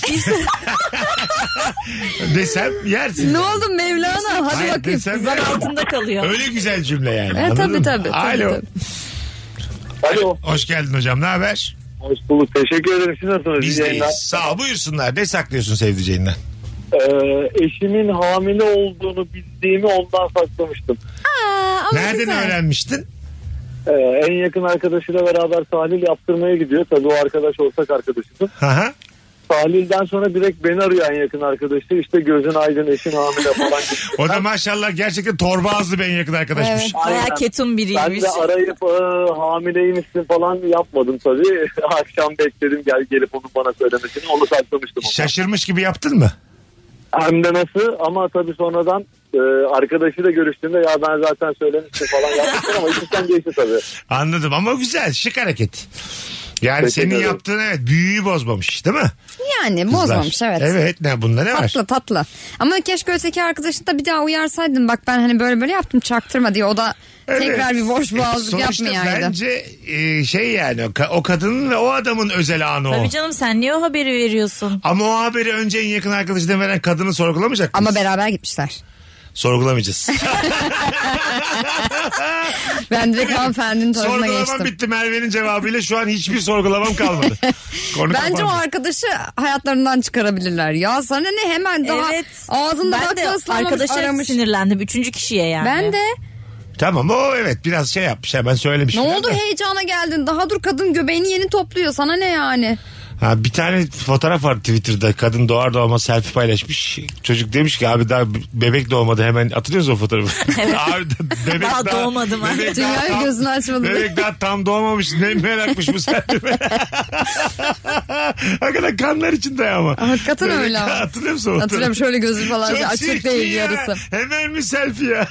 Desem yersin. Ne oldu Mevlana? Hadi Hayır, bakayım. desem zan yersin. altında kalıyor. Öyle güzel cümle yani. Evet, anladın E, tabii, mı? tabii, tabii, Alo. tabii. Alo. Hoş geldin hocam ne haber? Hoş bulduk. Teşekkür ederim. Siz nasılsınız? Biz İyi yayınlar. deyiz. Sağ ol, buyursunlar. Ne saklıyorsun sevdiceğinden? Ee, eşimin hamile olduğunu bildiğimi ondan saklamıştım. Aa, ama Nereden güzel. öğrenmiştin? Ee, en yakın arkadaşıyla beraber tahlil yaptırmaya gidiyor. Tabii o arkadaş ortak arkadaşımız. Aha. Tahlilden sonra direkt beni arıyor en yakın arkadaşı. İşte gözün aydın eşin hamile falan. O da maşallah gerçekten torba ağızlı ben yakın arkadaşmış. Evet. Baya Aynen. ketum ben biriymiş. de arayıp "Aa, hamileymişsin falan yapmadım tabii. Akşam bekledim gel gelip onun bana söylemesini. Onu saklamıştım. ondan. Şaşırmış gibi yaptın mı? Hem de nasıl ama tabii sonradan e, arkadaşıyla görüştüğümde ya ben zaten söylemiştim falan yapmıştım ama işten geçti tabii. Anladım ama güzel şık hareket. Yani Teşekkür senin ederim. yaptığın evet büyüyü bozmamış değil mi? Yani Kızlar? bozmamış evet. Evet ne bunda ne var? Tatlı tatlı. Ama keşke öteki arkadaşını da bir daha uyarsaydım. Bak ben hani böyle böyle yaptım çaktırma diye. O da Evet. E, tekrar bir boş boğazlık Sonuçta yapmayaydı. bence e, şey yani o, ka- o kadının ve o adamın özel anı o. Tabii canım sen niye o haberi veriyorsun? Ama o haberi önce en yakın arkadaşına veren kadını sorgulamayacak mıyız? Ama beraber gitmişler. Sorgulamayacağız. Ben direkt hanımefendinin tarafına Sorgulamam geçtim. bitti Merve'nin cevabıyla şu an hiçbir sorgulamam kalmadı. Konu Bence o kapandı. arkadaşı hayatlarından çıkarabilirler. Ya sana ne hemen daha evet. ağzında ben de bakla ıslanmamış arkadaşa aramış. sinirlendim. Üçüncü kişiye yani. Ben de Tamam o evet biraz şey yapmış hemen söylemiş. ne falan oldu da. heyecana geldin daha dur kadın göbeğini yeni topluyor sana ne yani. Ha, bir tane fotoğraf var Twitter'da kadın doğar doğmaz selfie paylaşmış. Çocuk demiş ki abi daha bebek doğmadı hemen atıyoruz o fotoğrafı. abi da- bebek Daha doğmadım abi. Bebek daha, Dünyayı tam, gözünü açmadı. bebek daha tam doğmamış ne merakmış bu selfie. Hakikaten kanlar içinde ama. Hakikaten Bebek- öyle ama. Hatırlıyor musun? o fotoğrafı? Hatırlıyorum şöyle gözü falan Çok açık çirkin değil ya. yarısı. Hemen mi selfie ya?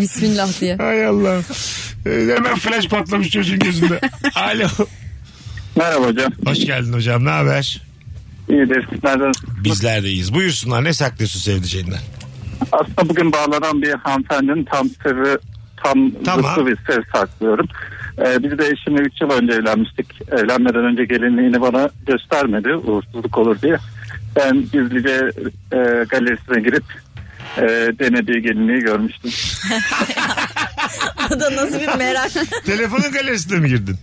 Bismillah diye. Hay Allah. Ee, Hemen flash patlamış çocuğun gözünde. Alo. Merhaba hocam. Hoş geldin hocam ne haber? İyidir. Nereden? Bizler de iyiyiz. Buyursunlar ne saklıyorsun sevdiceğinden? Aslında bugün bağlanan bir hanımefendinin tam sırrı tam Tamam. zıttı bir sır saklıyorum. Ee, biz de eşimle 3 yıl önce evlenmiştik. Evlenmeden önce gelinliğini bana göstermedi uğursuzluk olur diye. Ben gizlice e, galerisine girip e, denediği gelinliği görmüştüm. O da nasıl bir merak. Telefonun galerisine mi girdin?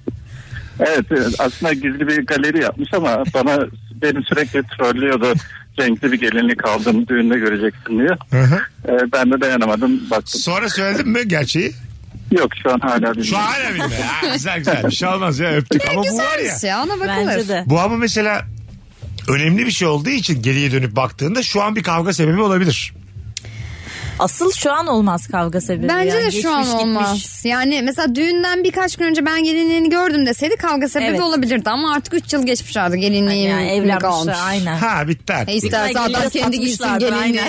Evet e, aslında gizli bir galeri yapmış ama bana beni sürekli trollüyordu. Renkli bir gelinlik aldım düğünde göreceksin diye. Ee, ben de dayanamadım baktım. Sonra söyledin mi gerçeği? Yok şu an hala Şu an hala bilmiyor. Ha, güzel güzel. Bir şey olmaz ya öptük. Ama bu var ya. Güzelmiş ya ona şey, bakılır. Bence de. Bu ama mesela önemli bir şey olduğu için geriye dönüp baktığında şu an bir kavga sebebi olabilir. Asıl şu an olmaz kavga sebebi. Bence yani. de Geçmiş şu an gitmiş. olmaz. Yani mesela düğünden birkaç gün önce ben gelinliğini gördüm deseydi kavga sebebi Evet. olabilirdi. Ama artık 3 yıl geçmiş artık gelinliği Yani evlenmişler kalmış. aynen. Ha bitti artık. E isterse Ay, adam giydiler, kendi giysin satmışlardı, gelinliği.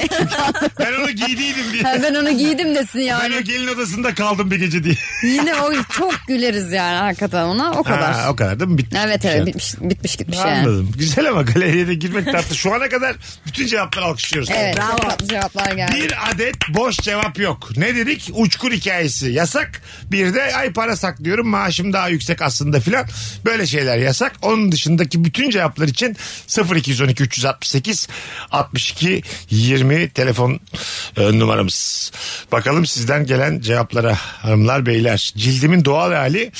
Ben onu giydiydim diye. Ha, ben onu giydim desin Ben yani. o gelin odasında kaldım bir gece diye. Yine o çok güleriz yani hakikaten ona o kadar. Ha, o kadar değil mi? Bitti. Evet Şey. evet bitmiş, bitmiş gitmiş yani. Anladım. Güzel ama galeriye de girmek tatlı. Şu ana kadar bütün cevapları alkışlıyoruz. Evet çok tatlı cevaplar geldi. Bir adet boş cevap yok. Ne dedik? Uçkur hikayesi yasak. Bir de ay para saklıyorum maaşım daha yüksek aslında filan. Böyle şeyler yasak. Onun dışındaki bütün cevaplar için 0212 368 62 20 telefon e, numaramız. Bakalım sizden gelen cevaplara hanımlar beyler. Cildimin doğal hali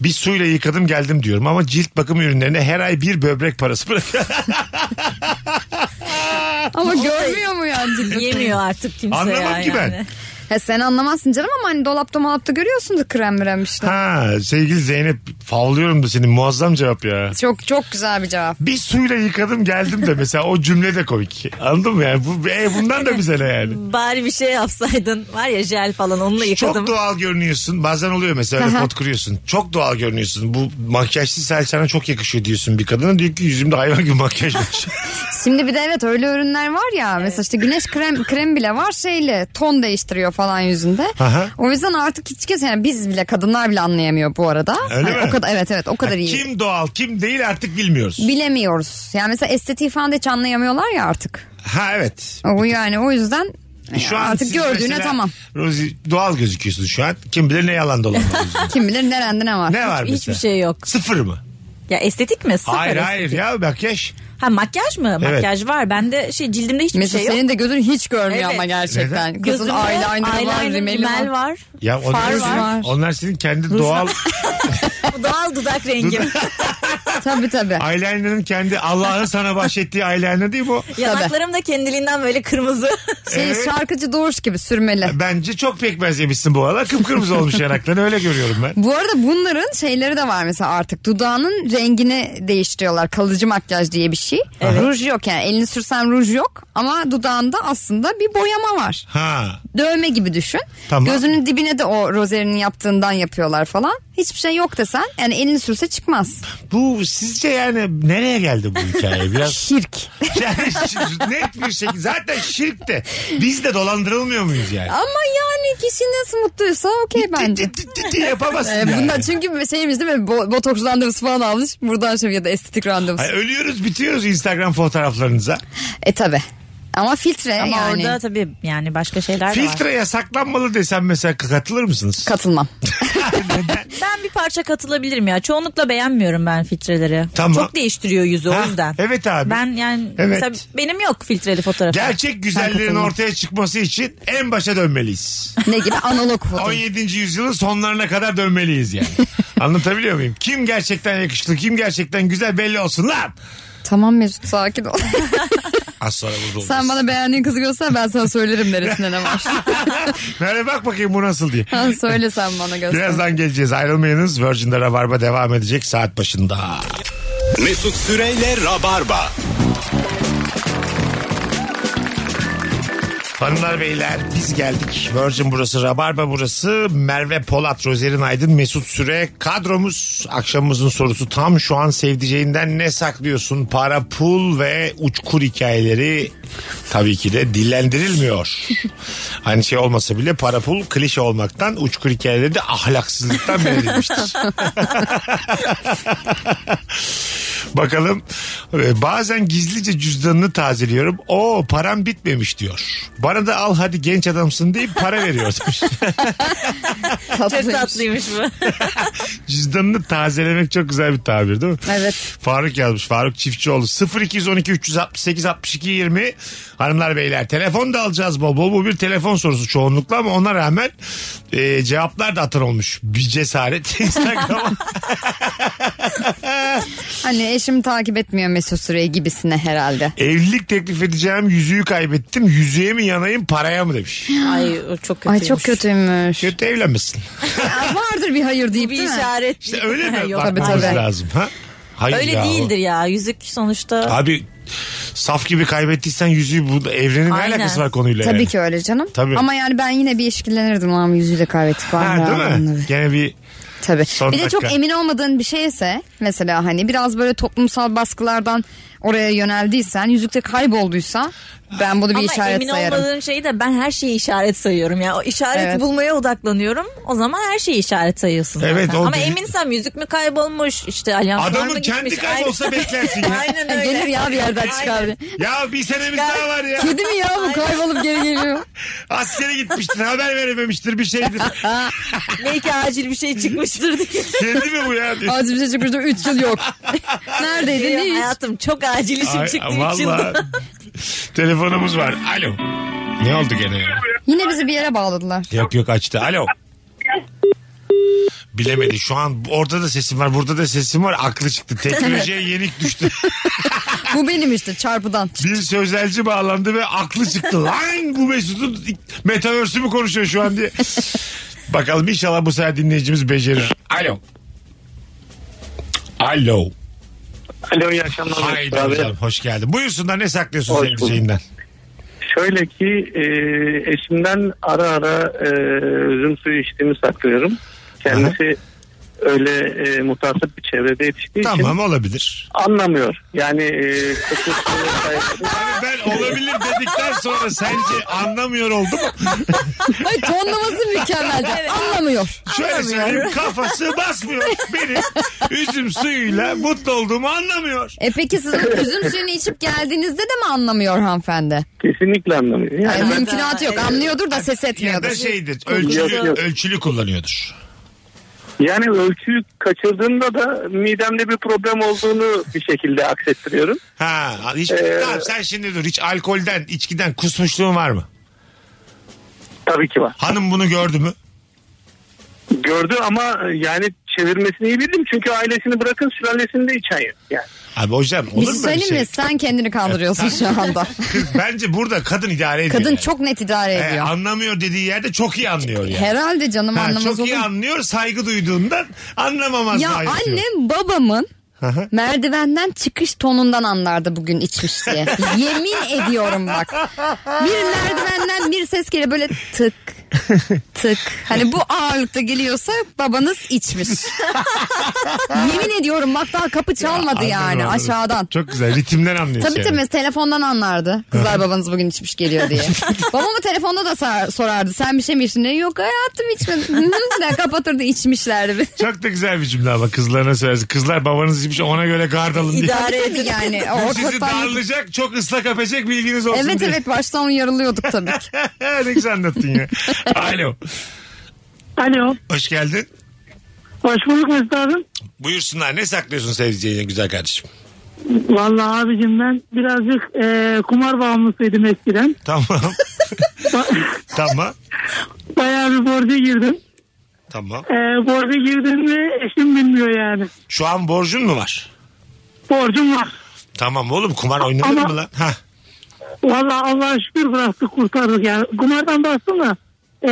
bir suyla yıkadım geldim diyorum ama cilt bakım ürünlerine her ay bir böbrek parası bırakıyorum. Ama görmüyor mu yani cidden? Yemiyor artık kimse Anlamam ya ki ben. yani. He, sen anlamazsın canım ama hani dolapta malapta görüyorsundur krem mrem işte. Ha sevgili Zeynep favlıyorum da senin muazzam cevap ya. Çok çok güzel bir cevap. Bir suyla yıkadım geldim de mesela o cümle de komik. Anladın mı yani? Bu, e, bundan da bize ne yani? Bari bir şey yapsaydın. Var ya jel falan onunla yıkadım. Çok doğal görünüyorsun. Bazen oluyor mesela öyle Aha. pot kırıyorsun. Çok doğal görünüyorsun. Bu makyajsız hal sana çok yakışıyor diyorsun bir kadına. Diyor ki yüzümde hayvan gibi makyaj var. Şimdi bir de evet öyle ürünler var ya mesela işte güneş krem krem bile var şeyle ton değiştiriyor falan yüzünde. Aha. O yüzden artık hiç kimse yani biz bile kadınlar bile anlayamıyor bu arada. Öyle Hani mi? O kadar evet evet o kadar iyi. kim doğal kim değil artık bilmiyoruz. Bilemiyoruz. Yani mesela estetiği falan da hiç anlayamıyorlar ya artık. Ha evet. O yani o yüzden E, Şu an artık siz gördüğüne mesela, tamam. Rozi doğal gözüküyorsun şu an. Kim bilir ne yalan dolan. Kim bilir nerende ne var. ne var mesela? Hiçbir şey yok. Sıfır mı? Ya estetik mi? Sıfır hayır estetik. hayır ya makyaj. Ha makyaj mı? Evet. Makyaj var. Bende şey cildimde hiçbir Mesut şey yok. senin de gözün hiç görmüyor Evet. ama gerçekten. Neden? Gözün Gözümde eyeliner'ı var, eyeliner, rimeli var. rimel var. Ya onlar, Far var. onlar senin kendi doğal Bu doğal dudak rengim. Tabii tabii. Eyeliner'ın kendi Allah'ın sana bahşettiği eyeliner değil bu. Yanaklarım da kendiliğinden böyle kırmızı. Şey, Evet. Şarkıcı Doğuş gibi sürmeli. Bence çok pekmez yemişsin bu aralar. Kıpkırmızı olmuş yanakların öyle görüyorum ben. Bu arada bunların şeyleri de var mesela artık. Dudağının rengini değiştiriyorlar. Kalıcı makyaj diye bir şey. Ruj yok yani elini sürsen ruj yok ama dudağında aslında bir boyama var. Ha. Dövme gibi düşün. Tamam. Gözünün dibine de o rozerinin yaptığından yapıyorlar falan. Hiçbir şey yok desen yani elini sürse çıkmaz. Bu sizce yani nereye geldi bu hikaye? Biraz Şirk. yani şi- net bir şekilde zaten şirk de biz de dolandırılmıyor muyuz yani? Ama yani kişi nasıl mutluysa okey bence. Di- di- di- di Yapamazsın Ee, yani. bundan çünkü şeyimiz değil mi? Bo- botoks randevusu falan almış. Buradan şey ya da estetik randevusu. Ay, ölüyoruz bitiyoruz Instagram fotoğraflarınıza. E tabi. Ama filtre Ama yani. orada tabii yani başka şeyler de var. Filtre yasaklanmalı desem mesela katılır mısınız? Katılmam. Ben bir parça katılabilirim ya. Çoğunlukla beğenmiyorum ben filtreleri. Tamam. Çok değiştiriyor yüzü Ha, o yüzden. evet abi. Ben yani Evet. mesela benim yok filtreli fotoğrafı. Gerçek güzellerin ortaya çıkması için en başa dönmeliyiz. Ne gibi? Analog foto. 17. yüzyılın sonlarına kadar dönmeliyiz yani. Anlatabiliyor muyum? Kim gerçekten yakışıklı, kim gerçekten güzel belli olsun lan. tamam Mesut sakin ol. Az sonra burada oluruz. Sen bana beğendiğin kızı göster ben sana söylerim neresinden ama. Merve bak bakayım bu nasıl diye. Ha, Söyle sen bana göster. Birazdan geleceğiz. Ayrılmayınız. Virgin'de Rabarba devam edecek saat başında. Mesut Süreyle Rabarba. Hanımlar beyler biz geldik. Virgin burası, Rabarba burası. Merve Polat, Rozerin Aydın, Mesut Süre kadromuz. Akşamımızın sorusu tam şu an sevdiceğinden ne saklıyorsun? Para, pul ve uçkur hikayeleri tabii ki de dillendirilmiyor. Aynı şey olmasa bile para pul klişe olmaktan, uçkur hikayeleri de ahlaksızlıktan belirlenmiştir. Bakalım Ee, bazen gizlice cüzdanını tazeliyorum. O param bitmemiş diyor. Bana da al hadi genç adamsın deyip para veriyor. demiş. Çok Tatlıymış. tatlıymış bu. Cüzdanını tazelemek çok güzel bir tabir değil mi? Evet. Faruk yazmış. Faruk Çiftçioğlu 0212 368 62 20 Hanımlar beyler telefon da alacağız bol bol. Bu bir telefon sorusu çoğunlukla ama ona rağmen e, cevaplar da atan olmuş. Bir cesaret Instagram'a. Hani eşim takip etmiyor Mesut Süreyi gibisine herhalde. Evlilik teklif edeceğim yüzüğü kaybettim. Yüzüğe mi yanayım paraya mı demiş. Ay o çok kötüymüş. Ay çok kötüymüş. Kötü evlenmesin. Ya vardır bir hayır deyip Bir değil mi? işaret. İşte öyle mi? Yok. Tabii, Bakmamız tabii. lazım. Ha? Hayır Öyle ya. değildir ya. Yüzük sonuçta. Abi saf gibi kaybettiysen yüzüğü bu evrenin ne Aynen. alakası var konuyla Tabii yani? ki öyle canım. Tabii. Ama yani ben yine bir eşkillenirdim lan yüzüğü de kaybettik. var Ha, ya, değil mi? bunları. Gene bir Tabii. Son bir de çok dakika. emin olmadığın bir şeyse mesela hani biraz böyle toplumsal baskılardan oraya yöneldiysen yüzükte kaybolduysa ben bunu bir Ama işaret emin sayarım. olmadığım şeyi de ben her şeyi işaret sayıyorum ya. O işareti Evet. bulmaya odaklanıyorum. O zaman her şeyi işaret sayıyorsun zaten. Evet, o Ama dedi- eminsem yüzük mü kaybolmuş işte alyans var mı adamın gitmiş. kendi kaybolsa Aynen- beklersin ya. Aynen Ha, öyle. Gelir ya bir yerden çıkar. Aynen. bir. ya bir senemiz daha var ya. Kedi mi ya bu kaybolup geri geliyor. Askere gitmiştir haber verememiştir bir şeydir. Belki acil bir şey çıkmıştır diye. Kendi mi bu ya? diyor. Acil bir şey çıkmıştı 3 yıl yok. Neredeydin Benim hiç? hayatım çok acil işim Ay, çıktığı için. Valla telefonumuz var. Alo. Ne oldu gene ya? Yine bizi bir yere bağladılar. Yok yok açtı. Alo. Bilemedi. Şu an orada da sesim var, burada da sesim var. Aklı çıktı. Teknolojiye yenik düştü. Bu benim işte çarpıdan. Bir sözelci bağlandı ve aklı çıktı. Lan bu Mesut'un metaverse'ü mü konuşuyor şu an diye. Bakalım inşallah bu sefer dinleyicimiz becerir. Alo. Alo. Alo iyi akşamlar. Haydi Abi. hocam hoş geldin. Buyursunlar ne saklıyorsun Hoş sevdiceğinden? Şöyle ki e, eşimden ara ara e, üzüm suyu içtiğimi saklıyorum. Kendisi öyle e, mutasip bir çevrede yetiştiği için Tamam olabilir. anlamıyor. Yani e, kokusu, sayısı- Hani ben olabilir dedikten sonra sence anlamıyor oldu mu? Ay tonlaması mükemmeldi. Anlamıyor. Şöyle söyleyeyim kafası basmıyor. Benim üzüm suyuyla mutlu olduğumu anlamıyor. E peki siz üzüm suyunu içip geldiğinizde de mi anlamıyor hanımefendi? kesinlikle anlamıyor. Yani Yani ben- mümkünatı yok. Anlıyordur da ses Ya etmiyordur. da şeydir Yok, ölçülü, yok. ölçülü kullanıyordur. Yani ölçüyü kaçırdığımda da midemde bir problem olduğunu bir şekilde aksettiriyorum. Ha, hiç, Ee, tamam sen şimdi dur hiç alkolden içkiden kusmuşluğun var mı? Tabii ki var. Hanım bunu gördü mü? Gördü ama e, yani çevirmesini iyi bildim. Çünkü ailesini bırakın sülalesini de içen yok. Yani. Abi hocam Bir olur şey mu böyle söyleyeyim şey? mi? Sen kendini kandırıyorsun şu anda. Kız, Bence burada kadın idare ediyor. Kadın yani. çok net idare He, ediyor. anlamıyor dediği yerde çok iyi anlıyor yani. Herhalde canım Ha, anlamaz çok iyi olur. anlıyor saygı duyduğundan anlamamaz. Ya daha yapıyor. annem babamın Merdivenden çıkış tonundan anlardı bugün içmiş diye. Yemin ediyorum bak. Bir merdivenden bir ses geliyor böyle tık tık. Hani bu ağırlıkta geliyorsa babanız içmiş. Yemin ediyorum bak daha kapı çalmadı Anladım, yani anladım. aşağıdan. Çok güzel ritimden anlıyorsun. Tabii yani. tabii mesela telefondan anlardı. Kızlar babanız bugün içmiş geliyor diye. Babamı telefonda da sar- sorardı. Sen bir şey mi içtin? diye. Yok hayatım içmedim. Hı, de kapatırdı içmişlerdi. Çok da güzel bir cümle ama kızlarına söylersin. Kızlar babanız gibi ona göre gard alın diye. İdare Tabii edin. yani. O Sizi ortadan... darlayacak çok ıslak öpecek bilginiz olsun Evet diye. evet başta onu yarılıyorduk tabii ki. ne güzel anlattın ya. Alo. Alo. Hoş geldin. Hoş bulduk Mesut abim. Buyursunlar. Ne saklıyorsun sevdiceğine güzel kardeşim? Valla abicim ben birazcık e, kumar bağımlısıydım eskiden. Tamam. Ba- tamam. Bayağı bir borca girdim. Tamam. E, borca girdim mi eşim bilmiyor yani. Şu an borcun mu var? Borcum var. Tamam oğlum kumar oynanır Ama- mı lan? Hah. Valla Allah'a şükür bıraktık kurtardık yani. Kumardan bastım da e,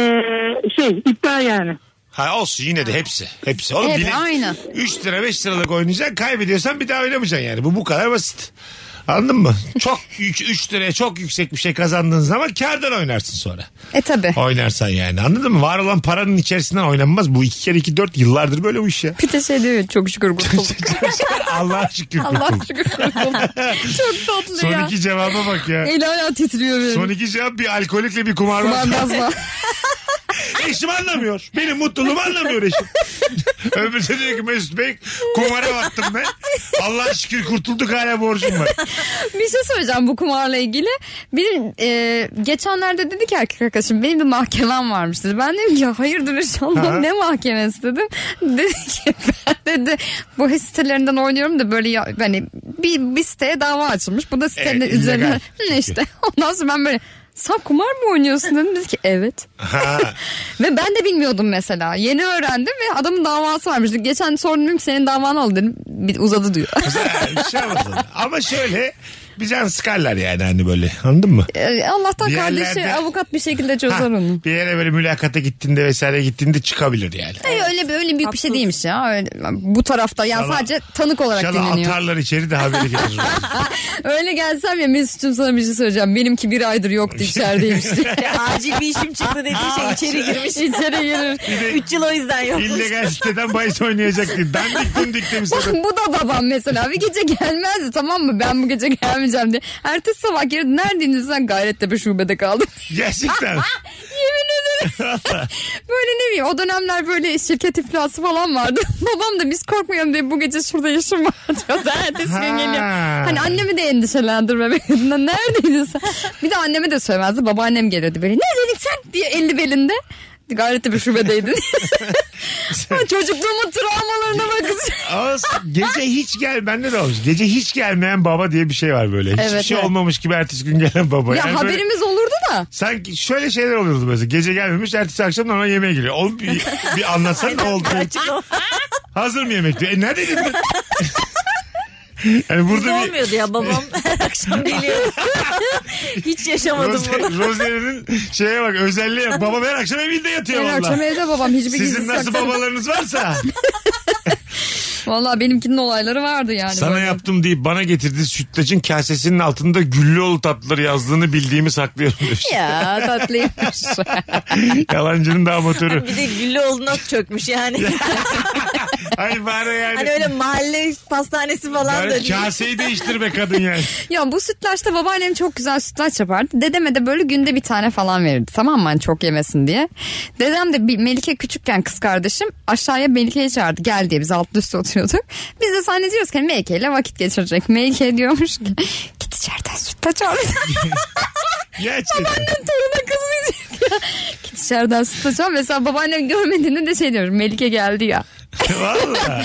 şey iddia yani. Ha olsun yine de hepsi. Hepsi. Oğlum Hep bile- aynı. 3 lira 5 liralık oynayacaksın kaybediyorsan bir daha oynamayacaksın yani. Bu bu kadar basit. Anladın mı? Çok 3 liraya çok yüksek bir şey kazandığın zaman kardan oynarsın sonra. E tabii. Oynarsan yani anladın mı? Var olan paranın içerisinden oynanmaz. Bu 2 kere 2 4 yıllardır böyle bu iş ya. Bir de şey diyor ya, çok şükür kurtulduk. Allah'a şükür. şey Allah kurtulduk. şükür kurtulduk. Çok tatlı Son ya. iki cevaba bak ya. El ayağı titriyor benim. Son iki cevap bir alkolikle bir kumarbaz. Kumarbaz var. Eşim anlamıyor. Benim mutluluğumu anlamıyor eşim. Öbürü de diyor ki Mesut Bey kumara battım ben. Allah'a şükür kurtulduk hala borcum var. bir şey söyleyeceğim bu kumarla ilgili. Benim e, geçenlerde dedi ki erkek arkadaşım benim bir mahkemem varmış dedi. Ben dedim ki hayırdır inşallah Ha. ne mahkemesi dedim. Dedi ki ben dedi bu his sitelerinden oynuyorum da böyle ya, hani bir, bir siteye dava açılmış. Bu da sitenin Evet, illegal. üzerine Hı, işte ondan sonra ben böyle sen kumar mı oynuyorsun dedim. Dedi ki evet. Ha, Ve ben de bilmiyordum mesela. Yeni öğrendim ve adamın davası varmış. Geçen sordum dedim ki, senin davan oldu dedim. Bir uzadı diyor. güzel, bir şey olmaz ona. Ama şöyle bir can sıkarlar yani hani böyle anladın mı? Ee, Allah'tan Bir kardeşi yerlerde- avukat bir şekilde çözer Ha, onu. bir yere böyle mülakata gittiğinde vesaire gittiğinde çıkabilir yani. Hayır, öyle bir öyle büyük bir şey değilmiş ya. Öyle- bu tarafta yani İnşallah- sadece tanık olarak İnşallah dinleniyor. atarlar içeri de haberi gelir. Öyle gelsem ya Mesut'cum sana bir şey söyleyeceğim. Benimki bir aydır yoktu içerideymiş diye. Acil bir işim çıktı dediği şey içeri girmiş. İçeri girir. Üç yıl o yüzden yokmuş. İllegal siteden bahis oynayacak diye. Dandik dundik demiş. Bak bu da babam mesela bir gece gelmezdi tamam mı ben bu gece gelmeyeceğim diye. Ertesi sabah geri neredeydin sen gayrettepe şubede kaldım. Gerçekten. Böyle ne bileyim o dönemler böyle şirket iflası falan vardı. Babam da biz korkmayalım diye bu gece şurada işim var diyor. Da Ertesi gün Ha. geliyor. Hani annemi de endişelendirme bakımından. Neredeydin sen? Bir de anneme de söylemezdi. Babaannem gelirdi böyle. Ne dedik sen diye elli belinde. Gayretli bir şubedeydin. Ama Çocukluğumun travmalarına bakın. Olsun. Gece hiç gel bende de olmuş. Gece hiç gelmeyen baba diye bir şey var böyle. Hiçbir Evet, şey evet. olmamış gibi ertesi gün gelen baba. ya Yani böyle haberimiz olurdu da. sanki şöyle şeyler oluyordu mesela. Gece gelmemiş ertesi akşam normal yemeğe geliyor. Oğlum bir, bir anlatsan ne oldu? Hazır mı yemek diyor. E neredeydin? ben? yani Bizde burada bir olmuyordu ya babam her akşam geliyor. Hiç yaşamadım Rose- bunu. Rose'nin şeye bak özelliğe bak. Babam her akşam evinde yatıyor Her akşam valla. evde babam hiçbir gizlisi Sizin nasıl yok. babalarınız varsa Valla benimkinin olayları vardı yani. sana böyle. yaptım deyip bana getirdi sütlacın kasesinin altında Güllüoğlu tatlıları yazdığını bildiğimi saklıyorum demiş. Ya tatlıymış. Yalancının da amatörü. Bir de güllü olduğuna çökmüş yani. Ay bari yani. hani öyle mahalle pastanesi falan da Bari değil. kaseyi değiştir be kadın yani. Ya bu sütlaçta babaannem çok güzel sütlaç yapardı. Dedeme de böyle günde bir tane falan verirdi. Tamam mı hani çok yemesin diye. Dedem de bir Melike küçükken kız kardeşim aşağıya Melike'yi çağırdı. Gel diye biz alt üstte oturuyorduk. Biz de zannediyoruz ki hani Melike ile vakit geçirecek. Melike diyormuş ki git içeriden sütlaç al. Gerçekten. Toruna kızmayacak ya. Git içeriden sütlaç al. Mesela babaannem görmediğinde de şey diyor. Melike geldi ya. Valla.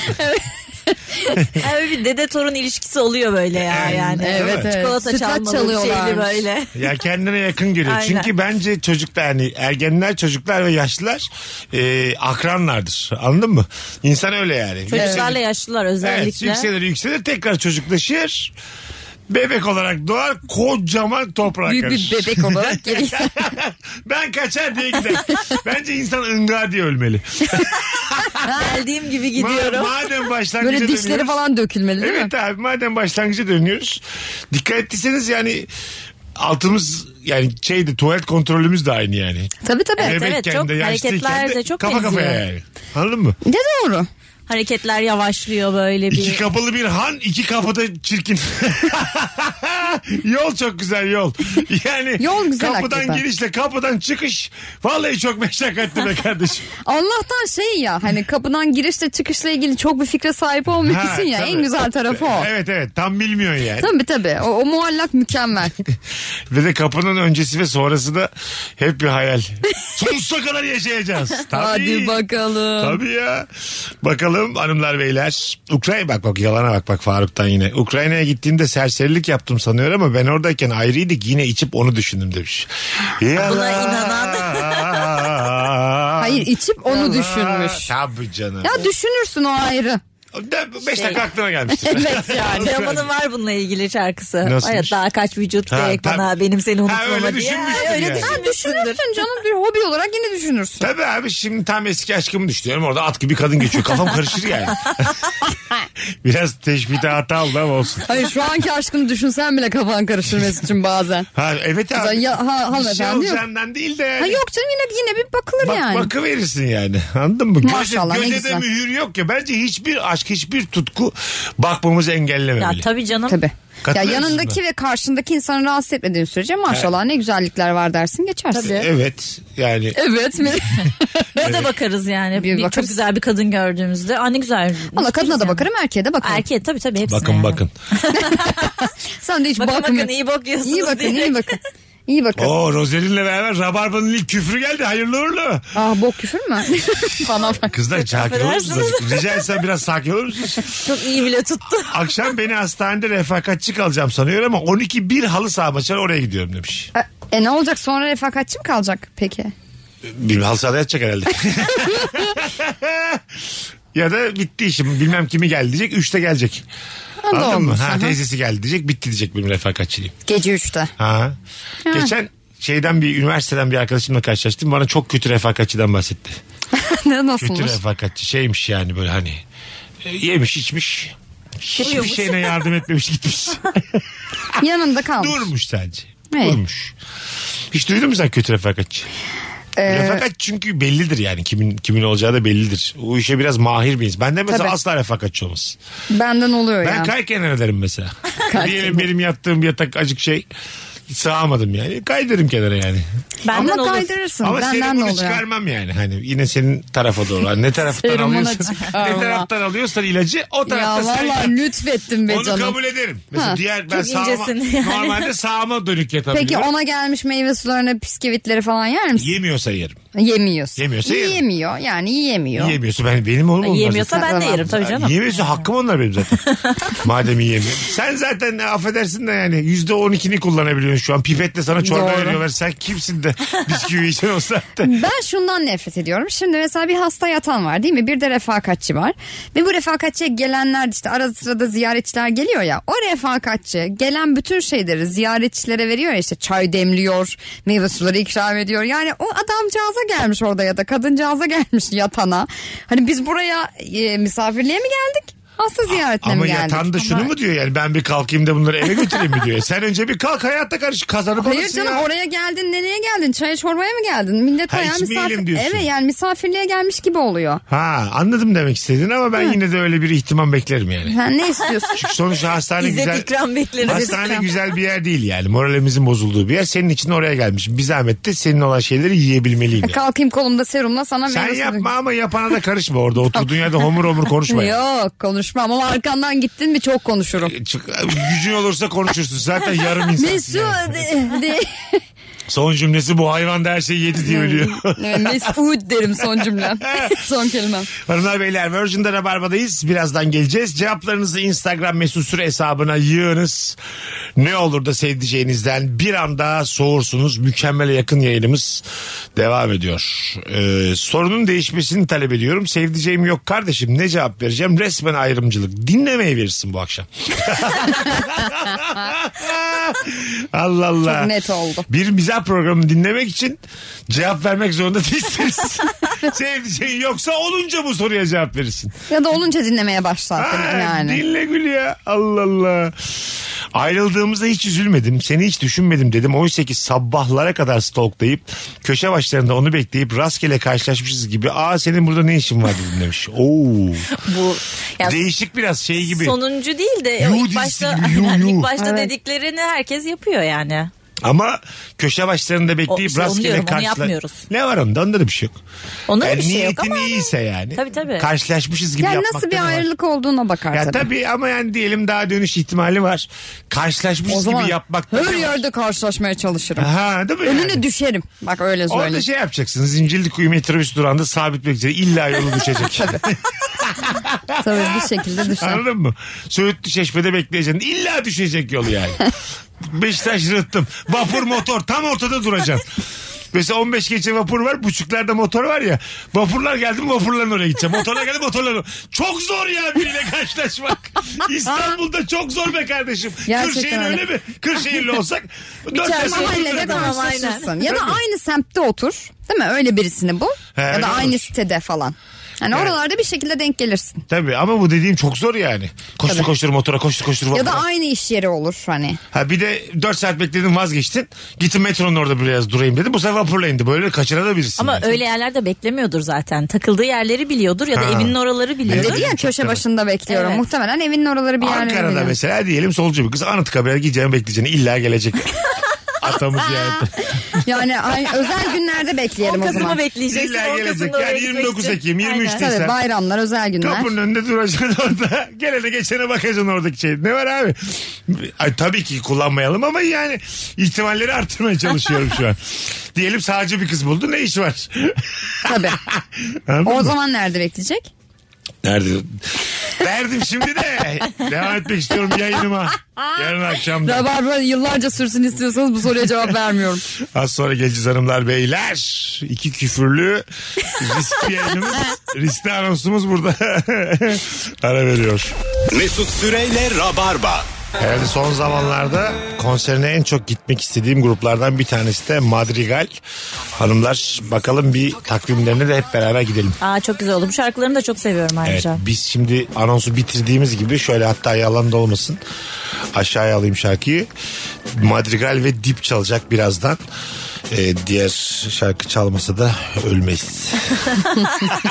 Yani bir dede torun ilişkisi oluyor böyle ya yani. Evet, evet. Çikolata Sütlaç çalmalı şeyli çalıyorlarmış. böyle. Ya kendine yakın geliyor. Aynen. Çünkü bence çocuklar hani ergenler, çocuklar ve yaşlılar e, akranlardır. Anladın mı? İnsan öyle yani. Çocuklarla Yükselir- yaşlılar Evet, özellikle. yükselir yükselir tekrar çocuklaşır. Bebek olarak doğar kocaman toprak Büyük bir karışır. bebek olarak geri. ben kaçar diye gider. Bence insan ınga diye ölmeli. Geldiğim gibi Ma- gidiyorum. madem başlangıca Böyle dişleri dönüyoruz- falan dökülmeli değil mi? Evet abi madem başlangıca dönüyoruz. Dikkat ettiyseniz yani altımız yani şeydi tuvalet kontrolümüz de aynı yani. Tabii tabii. Evet, evet, Bebekken çok de, yaşlıyken hareketler de çok kafa kafaya benziyor. yani. Anladın mı? De doğru. Hareketler yavaşlıyor böyle bir. İki kapalı bir han, iki kafada çirkin. yol çok güzel yol. Yani Yol güzel kapıdan hakikaten. girişle kapıdan çıkış vallahi çok meşakkatli be kardeşim. Allah'tan şey ya hani kapıdan girişle çıkışla ilgili çok bir fikre sahip olmuyorsun Ha, ya tabii. en güzel tarafı o. Evet evet tam bilmiyorsun yani. Tabii tabii o, o muallak mükemmel. Ve de kapının öncesi ve sonrası da hep bir hayal. Sonsuza kadar yaşayacağız. Tabii. Hadi bakalım. Tabii ya. Bakalım hanımlar beyler. Ukrayna bak bak yalana bak bak Faruk'tan yine. Ukrayna'ya gittiğimde serserilik yaptım sanıyor ama ben oradayken ayrıydık yine içip onu düşündüm demiş. Buna inanan. Hayır içip onu Yalan. düşünmüş. Tabii canım. Ya düşünürsün o ayrı. De- Beş dakika aklına gelmiştir. Evet yani. Teoman'ın var bununla ilgili şarkısı. Nasılmış? Evet daha kaç vücut Ha, gerek tabii. bana benim seni Ha, unutmama öyle diye. düşünmüştür öyle yani. Ha, düşünmüşsündür. düşünürsün canım bir hobi olarak yine düşünürsün. Tabii abi şimdi tam eski aşkımı düşünüyorum. Orada at gibi kadın geçiyor. Kafam karışır yani. Biraz teşbihte hata oldu ama olsun. Hayır şu anki aşkını düşünsen bile kafan karışır Mesut'cum bazen. Ha, evet Sen abi. ya- ha- bir şey hanımefendi yok. olacağından değil de yani. Ha yok canım yine yine bir bakılır Bak, yani. Bakı verirsin yani. Anladın mı? Maşallah, ne göze de güzel. mühür yok ya. Bence hiçbir aşk, hiçbir tutku bakmamızı Ya engellememeli. tabii canım. Tabii. Ya Katılıyor musun yanındaki ve karşındaki insanı rahatsız etmediğin sürece maşallah ne güzellikler var dersin geçersin. Evet. Yani Evet. mi? Biz de bakarız yani. Bir Bir çok bakarız. güzel bir kadın gördüğümüzde. Aa ne güzel. Valla kadına da bakarım erkeğe de bakarım. Erkeğe tabii tabii hepsine. bakın yani. bakın. Sen de hiç Bakın bakın. bakın iyi bakıyorsunuz. İyi bakın diye. iyi bakın. İyi bakın. Oo Rozerin'le beraber Rabarba'nın ilk küfrü geldi. Hayırlı uğurlu. Ah bok küfür mü? Falan. Kızlar sakin olur musunuz? Affedersiniz. Rica etsem biraz sakin olur musunuz? Çok iyi bile tuttu. Akşam beni hastanede refakatçi kalacağım sanıyor ama 12 bir halı saha maçı var, oraya gidiyorum demiş. E, E ne olacak sonra refakatçi mi kalacak peki? Bir halı sahada yatacak herhalde. ya da bitti işim bilmem kimi geldi diyecek. Üçte gelecek. da Anladın mı? olmuş, Ha, aha. teyzesi geldi diyecek. Bitti diyecek benim refakatçiliğim. Gece 3'te. Ha. Geçen şeyden bir üniversiteden bir arkadaşımla karşılaştım. Bana çok kötü refakatçiden bahsetti. ne Kötü nasılmış? refakatçi şeymiş yani böyle hani e, yemiş içmiş. Hiçbir Uyumuş. şeyine yardım etmemiş gitmiş. Yanında kalmış. Durmuş sadece. Evet. Durmuş. Hiç duydun mu sen kötü refakatçi? Ee, Refakatçi çünkü bellidir yani kimin kimin olacağı da bellidir. O işe biraz mahir miyiz? Benden mesela Tabii. asla refakatçi olmaz. Benden oluyor Ben ya. kay kenara derim mesela. Diyelim benim yattığım yatak acık şey sığamadım yani. Kaydırım kenara yani. Benden Ama olur. kaydırırsın. Ama Benden senin ne bunu oluyor? çıkarmam yani. Hani yine senin tarafa doğru. Hani ne taraftan Serumuna alıyorsan, ne çıkarma. taraftan alıyorsan ilacı o Ya tarafta sen valla yat. lütfettin be Onu canım. kabul ederim. Mesela Ha, diğer ben çok sağıma, incesin yani. normalde sağıma dönük yatabilirim. Peki ona gelmiş meyve sularına bisküvitleri falan yer misin? Yemiyorsa yerim. Yemiyorsun. Yemiyorsa yerim. Yemiyor yani yiyemiyor. Yiyemiyorsa ben, benim oğlum onlar Yiyemiyorsa zaten. ben de yerim tabii canım. Yiyemiyorsa hakkım onlar benim zaten. Madem yiyemiyor. Sen zaten ne affedersin de yani yüzde on ikini kullanabiliyorsun şu an. Pipetle sana çorba Doğru. veriyorlar. Sen kimsin de bisküvi için o saatte. Ben şundan nefret ediyorum. Şimdi mesela bir hasta yatan var değil mi? Bir de refakatçi var. Ve bu refakatçiye gelenler işte ara sırada ziyaretçiler geliyor ya. O refakatçi gelen bütün şeyleri ziyaretçilere veriyor ya işte çay demliyor, meyve suları ikram ediyor. Yani o adamcağıza gelmiş orada ya da kadıncağıza gelmiş yatana. Hani biz buraya e, misafirliğe mi geldik? Hasta ziyaretine Ama mi geldik? yatan da şunu mu diyor yani ben bir kalkayım da bunları eve götüreyim mi diyor. Sen önce bir kalk hayatta karış kazanıp Hayır alırsın canım ya. oraya geldin nereye geldin çaya çorbaya mı geldin millet Ha, bayağı içmeyelim misafir diyorsun. evet yani misafirliğe gelmiş gibi oluyor. Ha anladım demek istediğini ama ben yine de öyle bir ihtimam beklerim yani. Ha, ne istiyorsun? Çünkü sonuçta hastane İzzet güzel. ikram bekleriz. Hastane İzzet güzel bir yer değil yani. Moralimizin bozulduğu bir yer. Senin için oraya gelmiş. Bir zahmet de senin olan şeyleri yiyebilmeliyim. yani. E, Kalkayım kolumda serumla sana Sen meyve suyu- yapma ama yapana da karışma orada. Oturduğun yerde homur homur konuşma. yani. Yok konuşmam ama arkandan gittin mi çok konuşurum. Çık- Gücün olursa konuşursun. Zaten yarım insansın. Mesut yani. de- Son cümlesi bu hayvan da her şeyi yedi diye ölüyor. Evet, Mesut derim son cümlem. son kelimem. Hanımlar beyler Virgin'de Rabarba'dayız. Birazdan geleceğiz. Cevaplarınızı Instagram mesut süre hesabına yığınız. Ne olur da sevdiceğinizden bir anda soğursunuz. Mükemmele yakın yayınımız devam ediyor. Ee, sorunun değişmesini talep ediyorum. Sevdiceğim yok kardeşim ne cevap vereceğim? Resmen ayrımcılık. Dinlemeye verirsin bu akşam. Allah Allah. Çok net oldu. Bir mizah programını dinlemek için cevap vermek zorunda değilsiniz. Sevdiceğin yoksa olunca bu soruya cevap verirsin. Ya da olunca dinlemeye başlar Ha, dedim yani. Dinle gül ya. Allah Allah. Ayrıldığımızda hiç üzülmedim. Seni hiç düşünmedim dedim. Oysa ki sabahlara kadar stalklayıp köşe başlarında onu bekleyip rastgele karşılaşmışız gibi. Aa senin burada ne işin var dedim demiş. Oo. Bu ya Değişik biraz şey gibi. sonuncu değil de Yuh o dizisi ilk başta gibi, yuh, Aynen, yuh. ilk başta Evet. dediklerini herkes yapıyor yani. Ama köşe başlarında bekleyip işte onu rastgele diyorum, onu karşılaşmışız. yapmıyoruz. Ne var onda? Onda da bir şey yok. Ona da Yani bir şey yok niyetin ama iyiyse yani. Tabii, tabii. Karşılaşmışız gibi Ya yapmak nasıl bir ayrılık olduğuna bakar Ya tabii. tabii ama yani diyelim daha dönüş ihtimali var. O Karşılaşmışız zaman gibi yapmak da her var. yerde karşılaşmaya çalışırım. Ha, değil mi? Önüne yani? düşerim. Bak öyle Orada söyleyeyim. şey yapacaksın. Zincirli kuyu metrobüs durağında sabit üzere illa yolu düşecek. Tabii bir şekilde düşer. Anladın mı? Söğütlü çeşmede bekleyeceksin. İlla düşecek yolu yani. Beşiktaş rıttım. Vapur motor tam ortada duracaksın. Mesela 15 geçe vapur var. Buçuklarda motor var ya. Vapurlar geldi mi vapurların oraya gideceğim. Motorlar geldi motorların Çok zor ya biriyle karşılaşmak. İstanbul'da çok zor be kardeşim. Gerçekten Kırşehir öyle. öyle. mi? Kırşehirli olsak. dört çarşı sene mahallede Mahallede otururuz. Tamam, aynen. karşılaşırsın. Ya da Tabii. aynı semtte otur. Değil mi? Öyle birisini bul. He, ya öyle da aynı olur. sitede falan. Yani Evet. oralarda bir şekilde denk gelirsin. Tabii ama bu dediğim çok zor yani. Koştur Tabii. koştur motora koştur koştur vapura. Ya da aynı iş yeri olur hani. Ha bir de 4 saat bekledin vazgeçtin. Gittin metronun orada biraz durayım dedi. Bu sefer vapurla indi. Böyle kaçırabilirsin. ama yani. öyle yerlerde beklemiyordur zaten. Takıldığı yerleri biliyordur ya da Ha. evinin oraları biliyordur. Dedi ya köşe başında bekliyorum. Evet. Muhtemelen evinin oraları bir yerlere Ankara'da gidiyor. mesela diyelim solcu bir kız Anıtkabir'e gideceğini bekleyeceğini illa gelecek. Atamız yani. Yani ay- özel günlerde bekleyelim o, zaman. Kasım'ı bekleyeceksin. İlla 10 gelecek. Kasım'da oraya Yani gitmek 29 için. Ekim, 23 Aynen. Tabii Sen- bayramlar, özel günler. Kapının önünde duracaksın orada. Gelene geçene bakacaksın oradaki şey. Ne var abi? Ay, tabii ki kullanmayalım ama yani ihtimalleri arttırmaya çalışıyorum şu an. Diyelim sağcı bir kız buldu. Ne iş var? Tabii. Anladın O mı? zaman nerede bekleyecek? Nerede? Verdim şimdi de. Devam etmek istiyorum yayınıma. Yarın akşam da. Rabarba yıllarca sürsün istiyorsanız bu soruya cevap vermiyorum. Az sonra geleceğiz hanımlar beyler. İki küfürlü riskli yayınımız. Riskli anonsumuz burada. Ara veriyor. Mesut Süreyle Rabarba. Herhalde son zamanlarda konserine en çok gitmek istediğim gruplardan bir tanesi de Madrigal. Hanımlar bakalım bir takvimlerine de hep beraber gidelim. Aa çok güzel oldu. Bu şarkılarını da çok seviyorum Evet, ayrıca. biz şimdi anonsu bitirdiğimiz gibi şöyle hatta yalan da olmasın. Aşağıya alayım şarkıyı. Madrigal ve Dip çalacak birazdan. Ee, diğer şarkı çalmasa da ölmeyiz.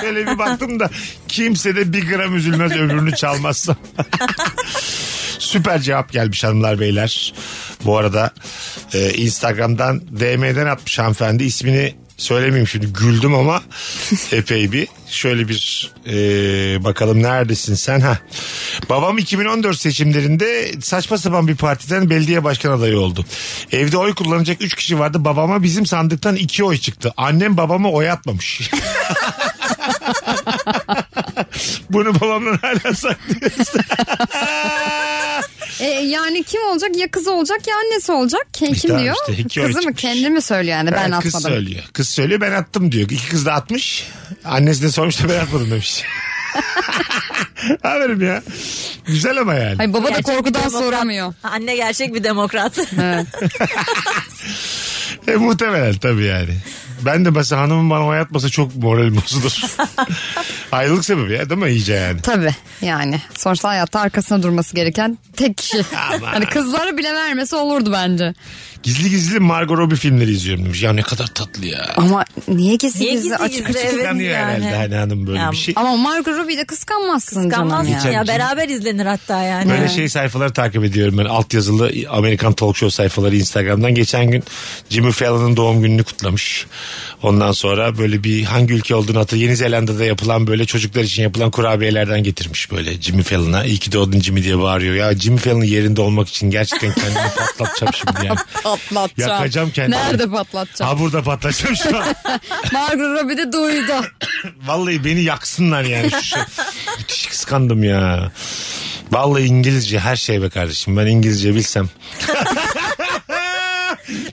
şöyle bir baktım da kimse de bir gram üzülmez ömrünü çalmazsa. Süper cevap gelmiş hanımlar beyler. Bu arada e, Instagram'dan DM'den atmış hanımefendi ismini söylemeyeyim şimdi güldüm ama epey bir şöyle bir e, bakalım neredesin sen ha. Babam 2014 seçimlerinde saçma sapan bir partiden belediye başkan adayı oldu. Evde oy kullanacak 3 kişi vardı babama bizim sandıktan 2 oy çıktı. Annem babama oy atmamış. Bunu babamdan hala saklıyor. E, yani kim olacak? Ya kızı olacak ya annesi olacak. Ke- Kim tamam diyor? işte, iki oy Kızı mı? çıkmış. Kendi mi söylüyor yani? Ben Ha, Ee, kız atmadım. söylüyor. Kız söylüyor ben attım diyor. İki kız da atmış. Annesi de sormuş da ben atmadım demiş. Haberim ya. Güzel ama yani. Ay baba da Gerçek korkudan demokrat. soramıyor. Ha, Anne gerçek bir demokrat. E, muhtemelen tabii yani. Ben de mesela hanımım bana oy atmasa çok moralim bozulur. Ayrılık sebebi ya değil mi iyice yani. Tabii yani. Sonuçta hayatta arkasına durması gereken tek kişi. Aman. hani kızları bile vermesi olurdu bence. Gizli gizli Margot Robbie filmleri izliyorum demiş. Ya ne kadar tatlı ya. Ama niye gizli Niye gizli gizli açık gizli? açık? Evet Kıskanıyor yani. herhalde hani hanım böyle Ya, bir şey. Ama Margot Robbie'yi de kıskanmazsın, Kanmaz canım ya. ya. Beraber izlenir hatta yani. Böyle şey sayfaları takip ediyorum ben. Altyazılı Amerikan talk show sayfaları Instagram'dan. Geçen gün Jimmy Fallon'ın doğum gününü kutlamış. Ondan sonra böyle bir hangi ülke olduğunu hatırlıyor. Yeni Zelanda'da yapılan böyle çocuklar için yapılan kurabiyelerden getirmiş böyle Jimmy Fallon'a. İyi ki doğdun Jimmy diye bağırıyor. Ya Jimmy Fallon'ın yerinde olmak için gerçekten kendimi patlatacağım şimdi yani. Patlatacağım. Yakacağım kendimi. Nerede patlatacağım? Ha burada patlatacağım şu an. Margot Robbie de duydu. Vallahi beni yaksınlar yani. Şu, şu- müthiş kıskandım ya. Vallahi İngilizce her şey be kardeşim. Ben İngilizce bilsem.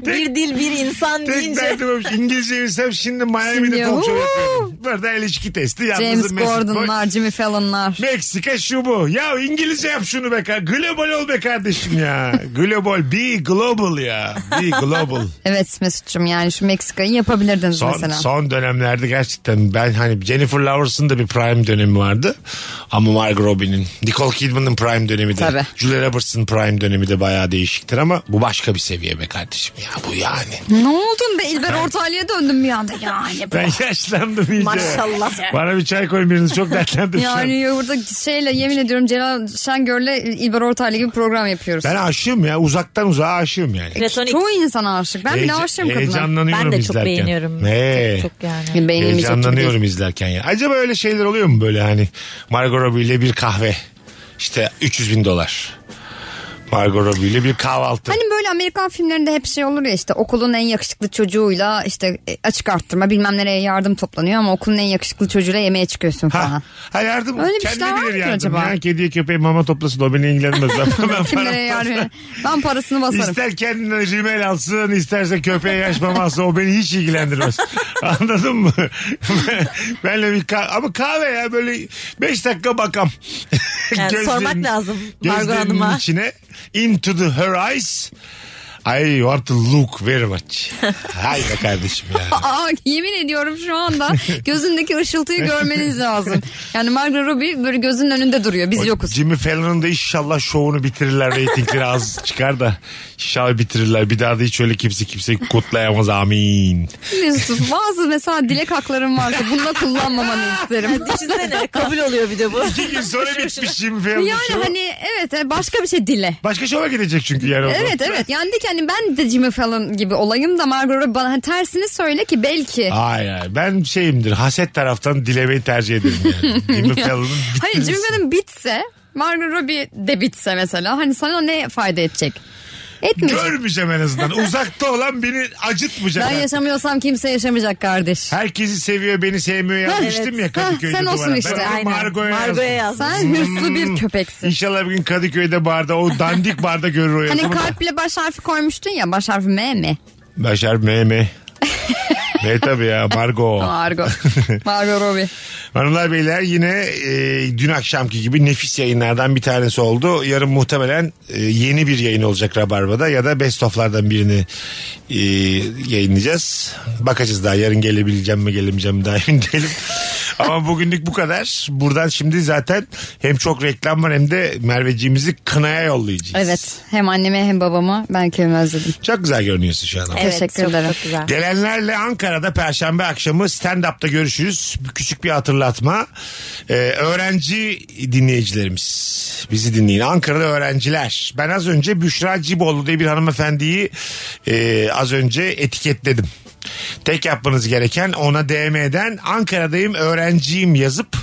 bir dil bir insan Tek deyince. derdim olmuş. İngilizce bilsem şimdi Miami'de Şimdi, talk show huu. yapıyorum. Burada ilişki testi. yalnızım James Mesut Boy. Gordon'lar, Jimmy Fallon'lar. Meksika şu bu. Ya İngilizce yap şunu be. kar- Global ol be kardeşim ya. Global. Be global ya. Be global. Evet Mesut'cum yani şu Meksika'yı yapabilirdiniz Son, mesela. son dönemlerde gerçekten ben hani Jennifer Lawrence'ın da bir prime dönemi vardı. Ama Margot Robbie'nin, Nicole Kidman'ın prime dönemi de. Tabii. Julia Roberts'ın prime dönemi de bayağı değişiktir ama bu başka bir seviye be kardeşim ya bu yani. Ne oldun be İlber Ortaylı'ya döndüm bir anda. Yani, Ben yaşlandım iyice. Maşallah. Bana bir çay koyun biriniz çok dertlendim şu an. yani ya burada şeyle yemin ediyorum Celal Şengör'le İlber Ortaylı gibi program yapıyoruz. Ben aşığım ya uzaktan uzağa aşığım yani. Platonik. Çoğu insan aşık. Ben bile Heyeca- aşığım kadına. Heyecanlanıyorum Ben de çok izlerken. beğeniyorum. He. Çok, çok yani. Beynim hiç açık değil. Heyecanlanıyorum izlerken ya. Acaba öyle şeyler oluyor mu böyle hani Margot Robbie ile bir kahve işte 300 bin dolar. Margot Robbie ile bir kahvaltı. Hani böyle Amerikan filmlerinde hep şey olur ya işte okulun en yakışıklı çocuğuyla işte e, açık arttırma bilmem nereye yardım toplanıyor ama okulun en yakışıklı çocuğuyla yemeğe çıkıyorsun falan. Ha, ha yardım Öyle bir kendi şeyler var bilir mıdır yardım. acaba? Ya, kediye köpeğe mama toplasın o beni ilgilenmez. Ben- ben Kim param- nereye yardım ediyor? Ben parasını basarım. İster kendine rimel alsın isterse köpeğe yaş mama alsın o beni hiç ilgilendirmez. Anladın mı? Benle bir kah- ama kahve ya böyle 5 dakika bakam. Yani Gözlerinin- sormak lazım Margot gözlerinin Hanım'a. içine into the her eyes. I want to look very much. Hay be kardeşim ya. Aa, yemin ediyorum şu anda gözündeki ışıltıyı görmeniz lazım. Yani Margot Robbie böyle gözünün önünde duruyor. Biz O yokuz. Jimmy Fallon'ın da inşallah şovunu bitirirler. Reytingleri az çıkar da inşallah bitirirler. Bir daha da hiç öyle kimse kimseyi kutlayamaz. Amin. Mesut, bazı mesela dilek haklarım varsa bunu da kullanmamanı isterim. Düşünsene kabul oluyor bir de bu. İki gün sonra bitmiş Jimmy Fallon'ın şovu. Yani hani evet başka bir şey dile. Başka şova gidecek çünkü yani. o zaman. Evet evet yani de ki hani ben de Jimmy Fallon gibi olayım da Margot Robbie bana hani tersini söyle ki belki. Hayır hayır. Ben şeyimdir. Haset taraftan dilemeyi tercih ederim yani. Jimmy Fallon'ın Hayır Jimmy bitirirsin. Fallon bitse Margot Robbie de bitse mesela hani sana ne fayda edecek? Etmeyecek. Görmeyeceğim en azından. Uzakta olan beni acıtmayacak. Ben yaşamıyorsam kimse yaşamayacak kardeş. Herkesi seviyor beni sevmiyor yazmıştım evet. ya Kadıköy'de Ha, sen duvara. olsun işte, Ben onu aynen. Margo'ya Margo'ya yazdım. yazdım. Sen hırslı bir köpeksin. İnşallah bir gün Kadıköy'de barda o dandik barda görür o Hani yazımı. da. kalple baş harfi koymuştun ya baş harfi M mi? Başar M M. M tabii ya Margo. Margot. Margot Robbie. Hanımlar beyler yine e, dün akşamki gibi nefis yayınlardan bir tanesi oldu. Yarın muhtemelen e, yeni bir yayın olacak Rabarba'da ya da Best of'lardan birini e, yayınlayacağız. Bakacağız daha yarın gelebileceğim mi gelemeyeceğim mi daha emin değilim. Ama bugünlük bu kadar. Buradan şimdi zaten hem çok reklam var hem de Merveciğimizi kınaya yollayacağız. Evet hem anneme hem babama ben kendimi özledim. Çok güzel görünüyorsun şu an. ama. Evet, Teşekkür çok, ederim. Çok güzel. Gelenlerle Ankara'da Perşembe akşamı stand-up'ta görüşürüz. Küçük bir hatırlatma. Ee, öğrenci dinleyicilerimiz bizi dinleyin. Ankara'da öğrenciler. Ben az önce Büşra Ciboğlu diye bir hanımefendiyi e, az önce etiketledim. Tek yapmanız gereken ona DM'den Ankara'dayım öğrenciyim yazıp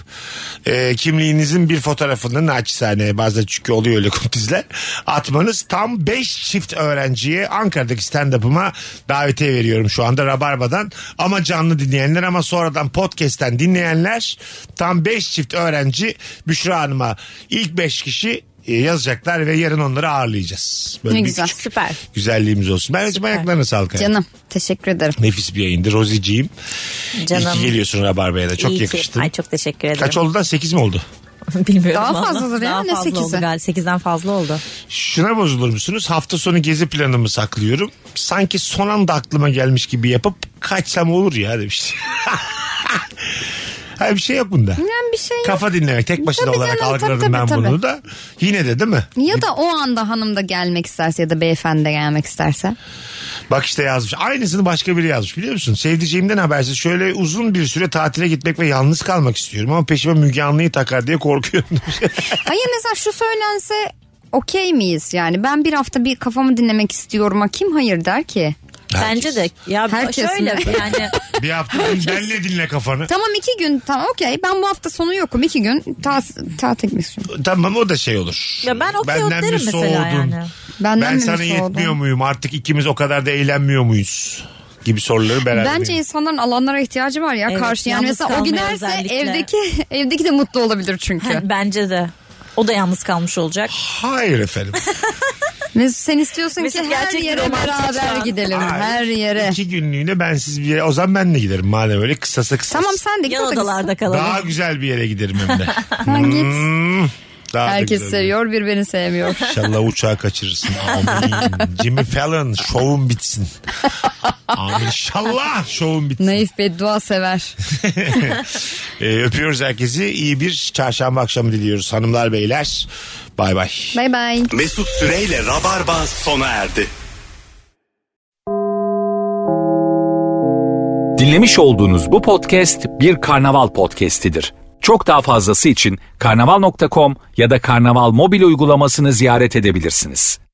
e, kimliğinizin bir fotoğrafını naçizane bazen çünkü oluyor öyle kuntizler atmanız tam 5 çift öğrenciye Ankara'daki stand-up'ıma davetiye veriyorum şu anda Rabarba'dan ama canlı dinleyenler ama sonradan podcast'ten dinleyenler tam 5 çift öğrenci Büşra Hanım'a ilk 5 kişi e, yazacaklar ve yarın onları ağırlayacağız. Böyle Ne bir güzel. küçük Süper. güzelliğimiz olsun. Ben ayaklarına sağlık. hayatım. Canım teşekkür ederim. Nefis bir yayındı. Rozi'ciğim. İyi Canım. ki geliyorsun Rabarba'ya da. Çok İyi ki. yakıştın. Ay çok teşekkür ederim. Kaç oldu da 8 mi oldu? Bilmiyorum Daha valla. fazladır ya, Daha ne fazla oldu sekizi? galiba. Sekizden fazla oldu. Şuna bozulur musunuz? Hafta sonu gezi planımı saklıyorum. Sanki son anda aklıma gelmiş gibi yapıp kaçsam olur ya demiş. Hayır bir şey yapın da. Yani bir şey yok. Kafa dinlemek tek başına Tabii olarak canım, tabii, algıladım ben tabii, bunu da. Yine de değil mi? Ya da o anda hanım da gelmek isterse ya da beyefendi de gelmek isterse. Bak işte yazmış. Aynısını başka biri yazmış biliyor musun? Sevdiceğimden habersiz şöyle uzun bir süre tatile gitmek ve yalnız kalmak istiyorum ama peşime Müge Anlı'yı takar diye korkuyorum. demiş. Hayır mesela şu söylense okey miyiz? Yani ben bir hafta bir kafamı dinlemek istiyorum. Ha, Kim hayır der ki? Bence de. Ya Herkes şöyle mi? yani bir hafta benle dinle kafanı. Tamam iki gün tamam okey ben bu hafta sonu yokum. iki gün ta tatil mi istiyorum? Tamam o da şey olur. Ya ben okey Benden derim mi mesela soğudun? yani. Benden ben mi sana birisi yetmiyor oldum? muyum? Artık ikimiz o kadar da eğlenmiyor muyuz? Gibi soruları beraber. Bence insanların alanlara ihtiyacı var ya Evet, karşı. Yani yalnız mesela o kalmaya giderse özellikle. evdeki evdeki de mutlu olabilir çünkü. bence de. O da yalnız kalmış olacak. Hayır efendim. Mesut sen istiyorsun Mesut ki her gerçek bir yere romantik şu beraber an. gidelim. Ay, Her yere. İki günlüğüne bensiz bir yere. O zaman ben de giderim madem öyle kısasa kısas. Tamam sen de git. Yan o da gitsin. odalarda kalalım. Daha güzel bir yere giderim hem de. Sen git. Hmm, daha da Herkes güzel. seviyor bir beni sevmiyor. İnşallah uçağı kaçırırsın. Amin. Jimmy Fallon şovun bitsin. Amin. İnşallah şovun bitsin. Naif beddua sever. Ee, öpüyoruz herkesi. İyi bir çarşamba akşamı diliyoruz hanımlar beyler. Bay bay. Bay bay. Mesut Süreyle Rabarba sona erdi. Dinlemiş olduğunuz bu podcast bir karnaval podcastidir. Çok daha fazlası için karnaval.com ya da karnaval mobil uygulamasını ziyaret edebilirsiniz.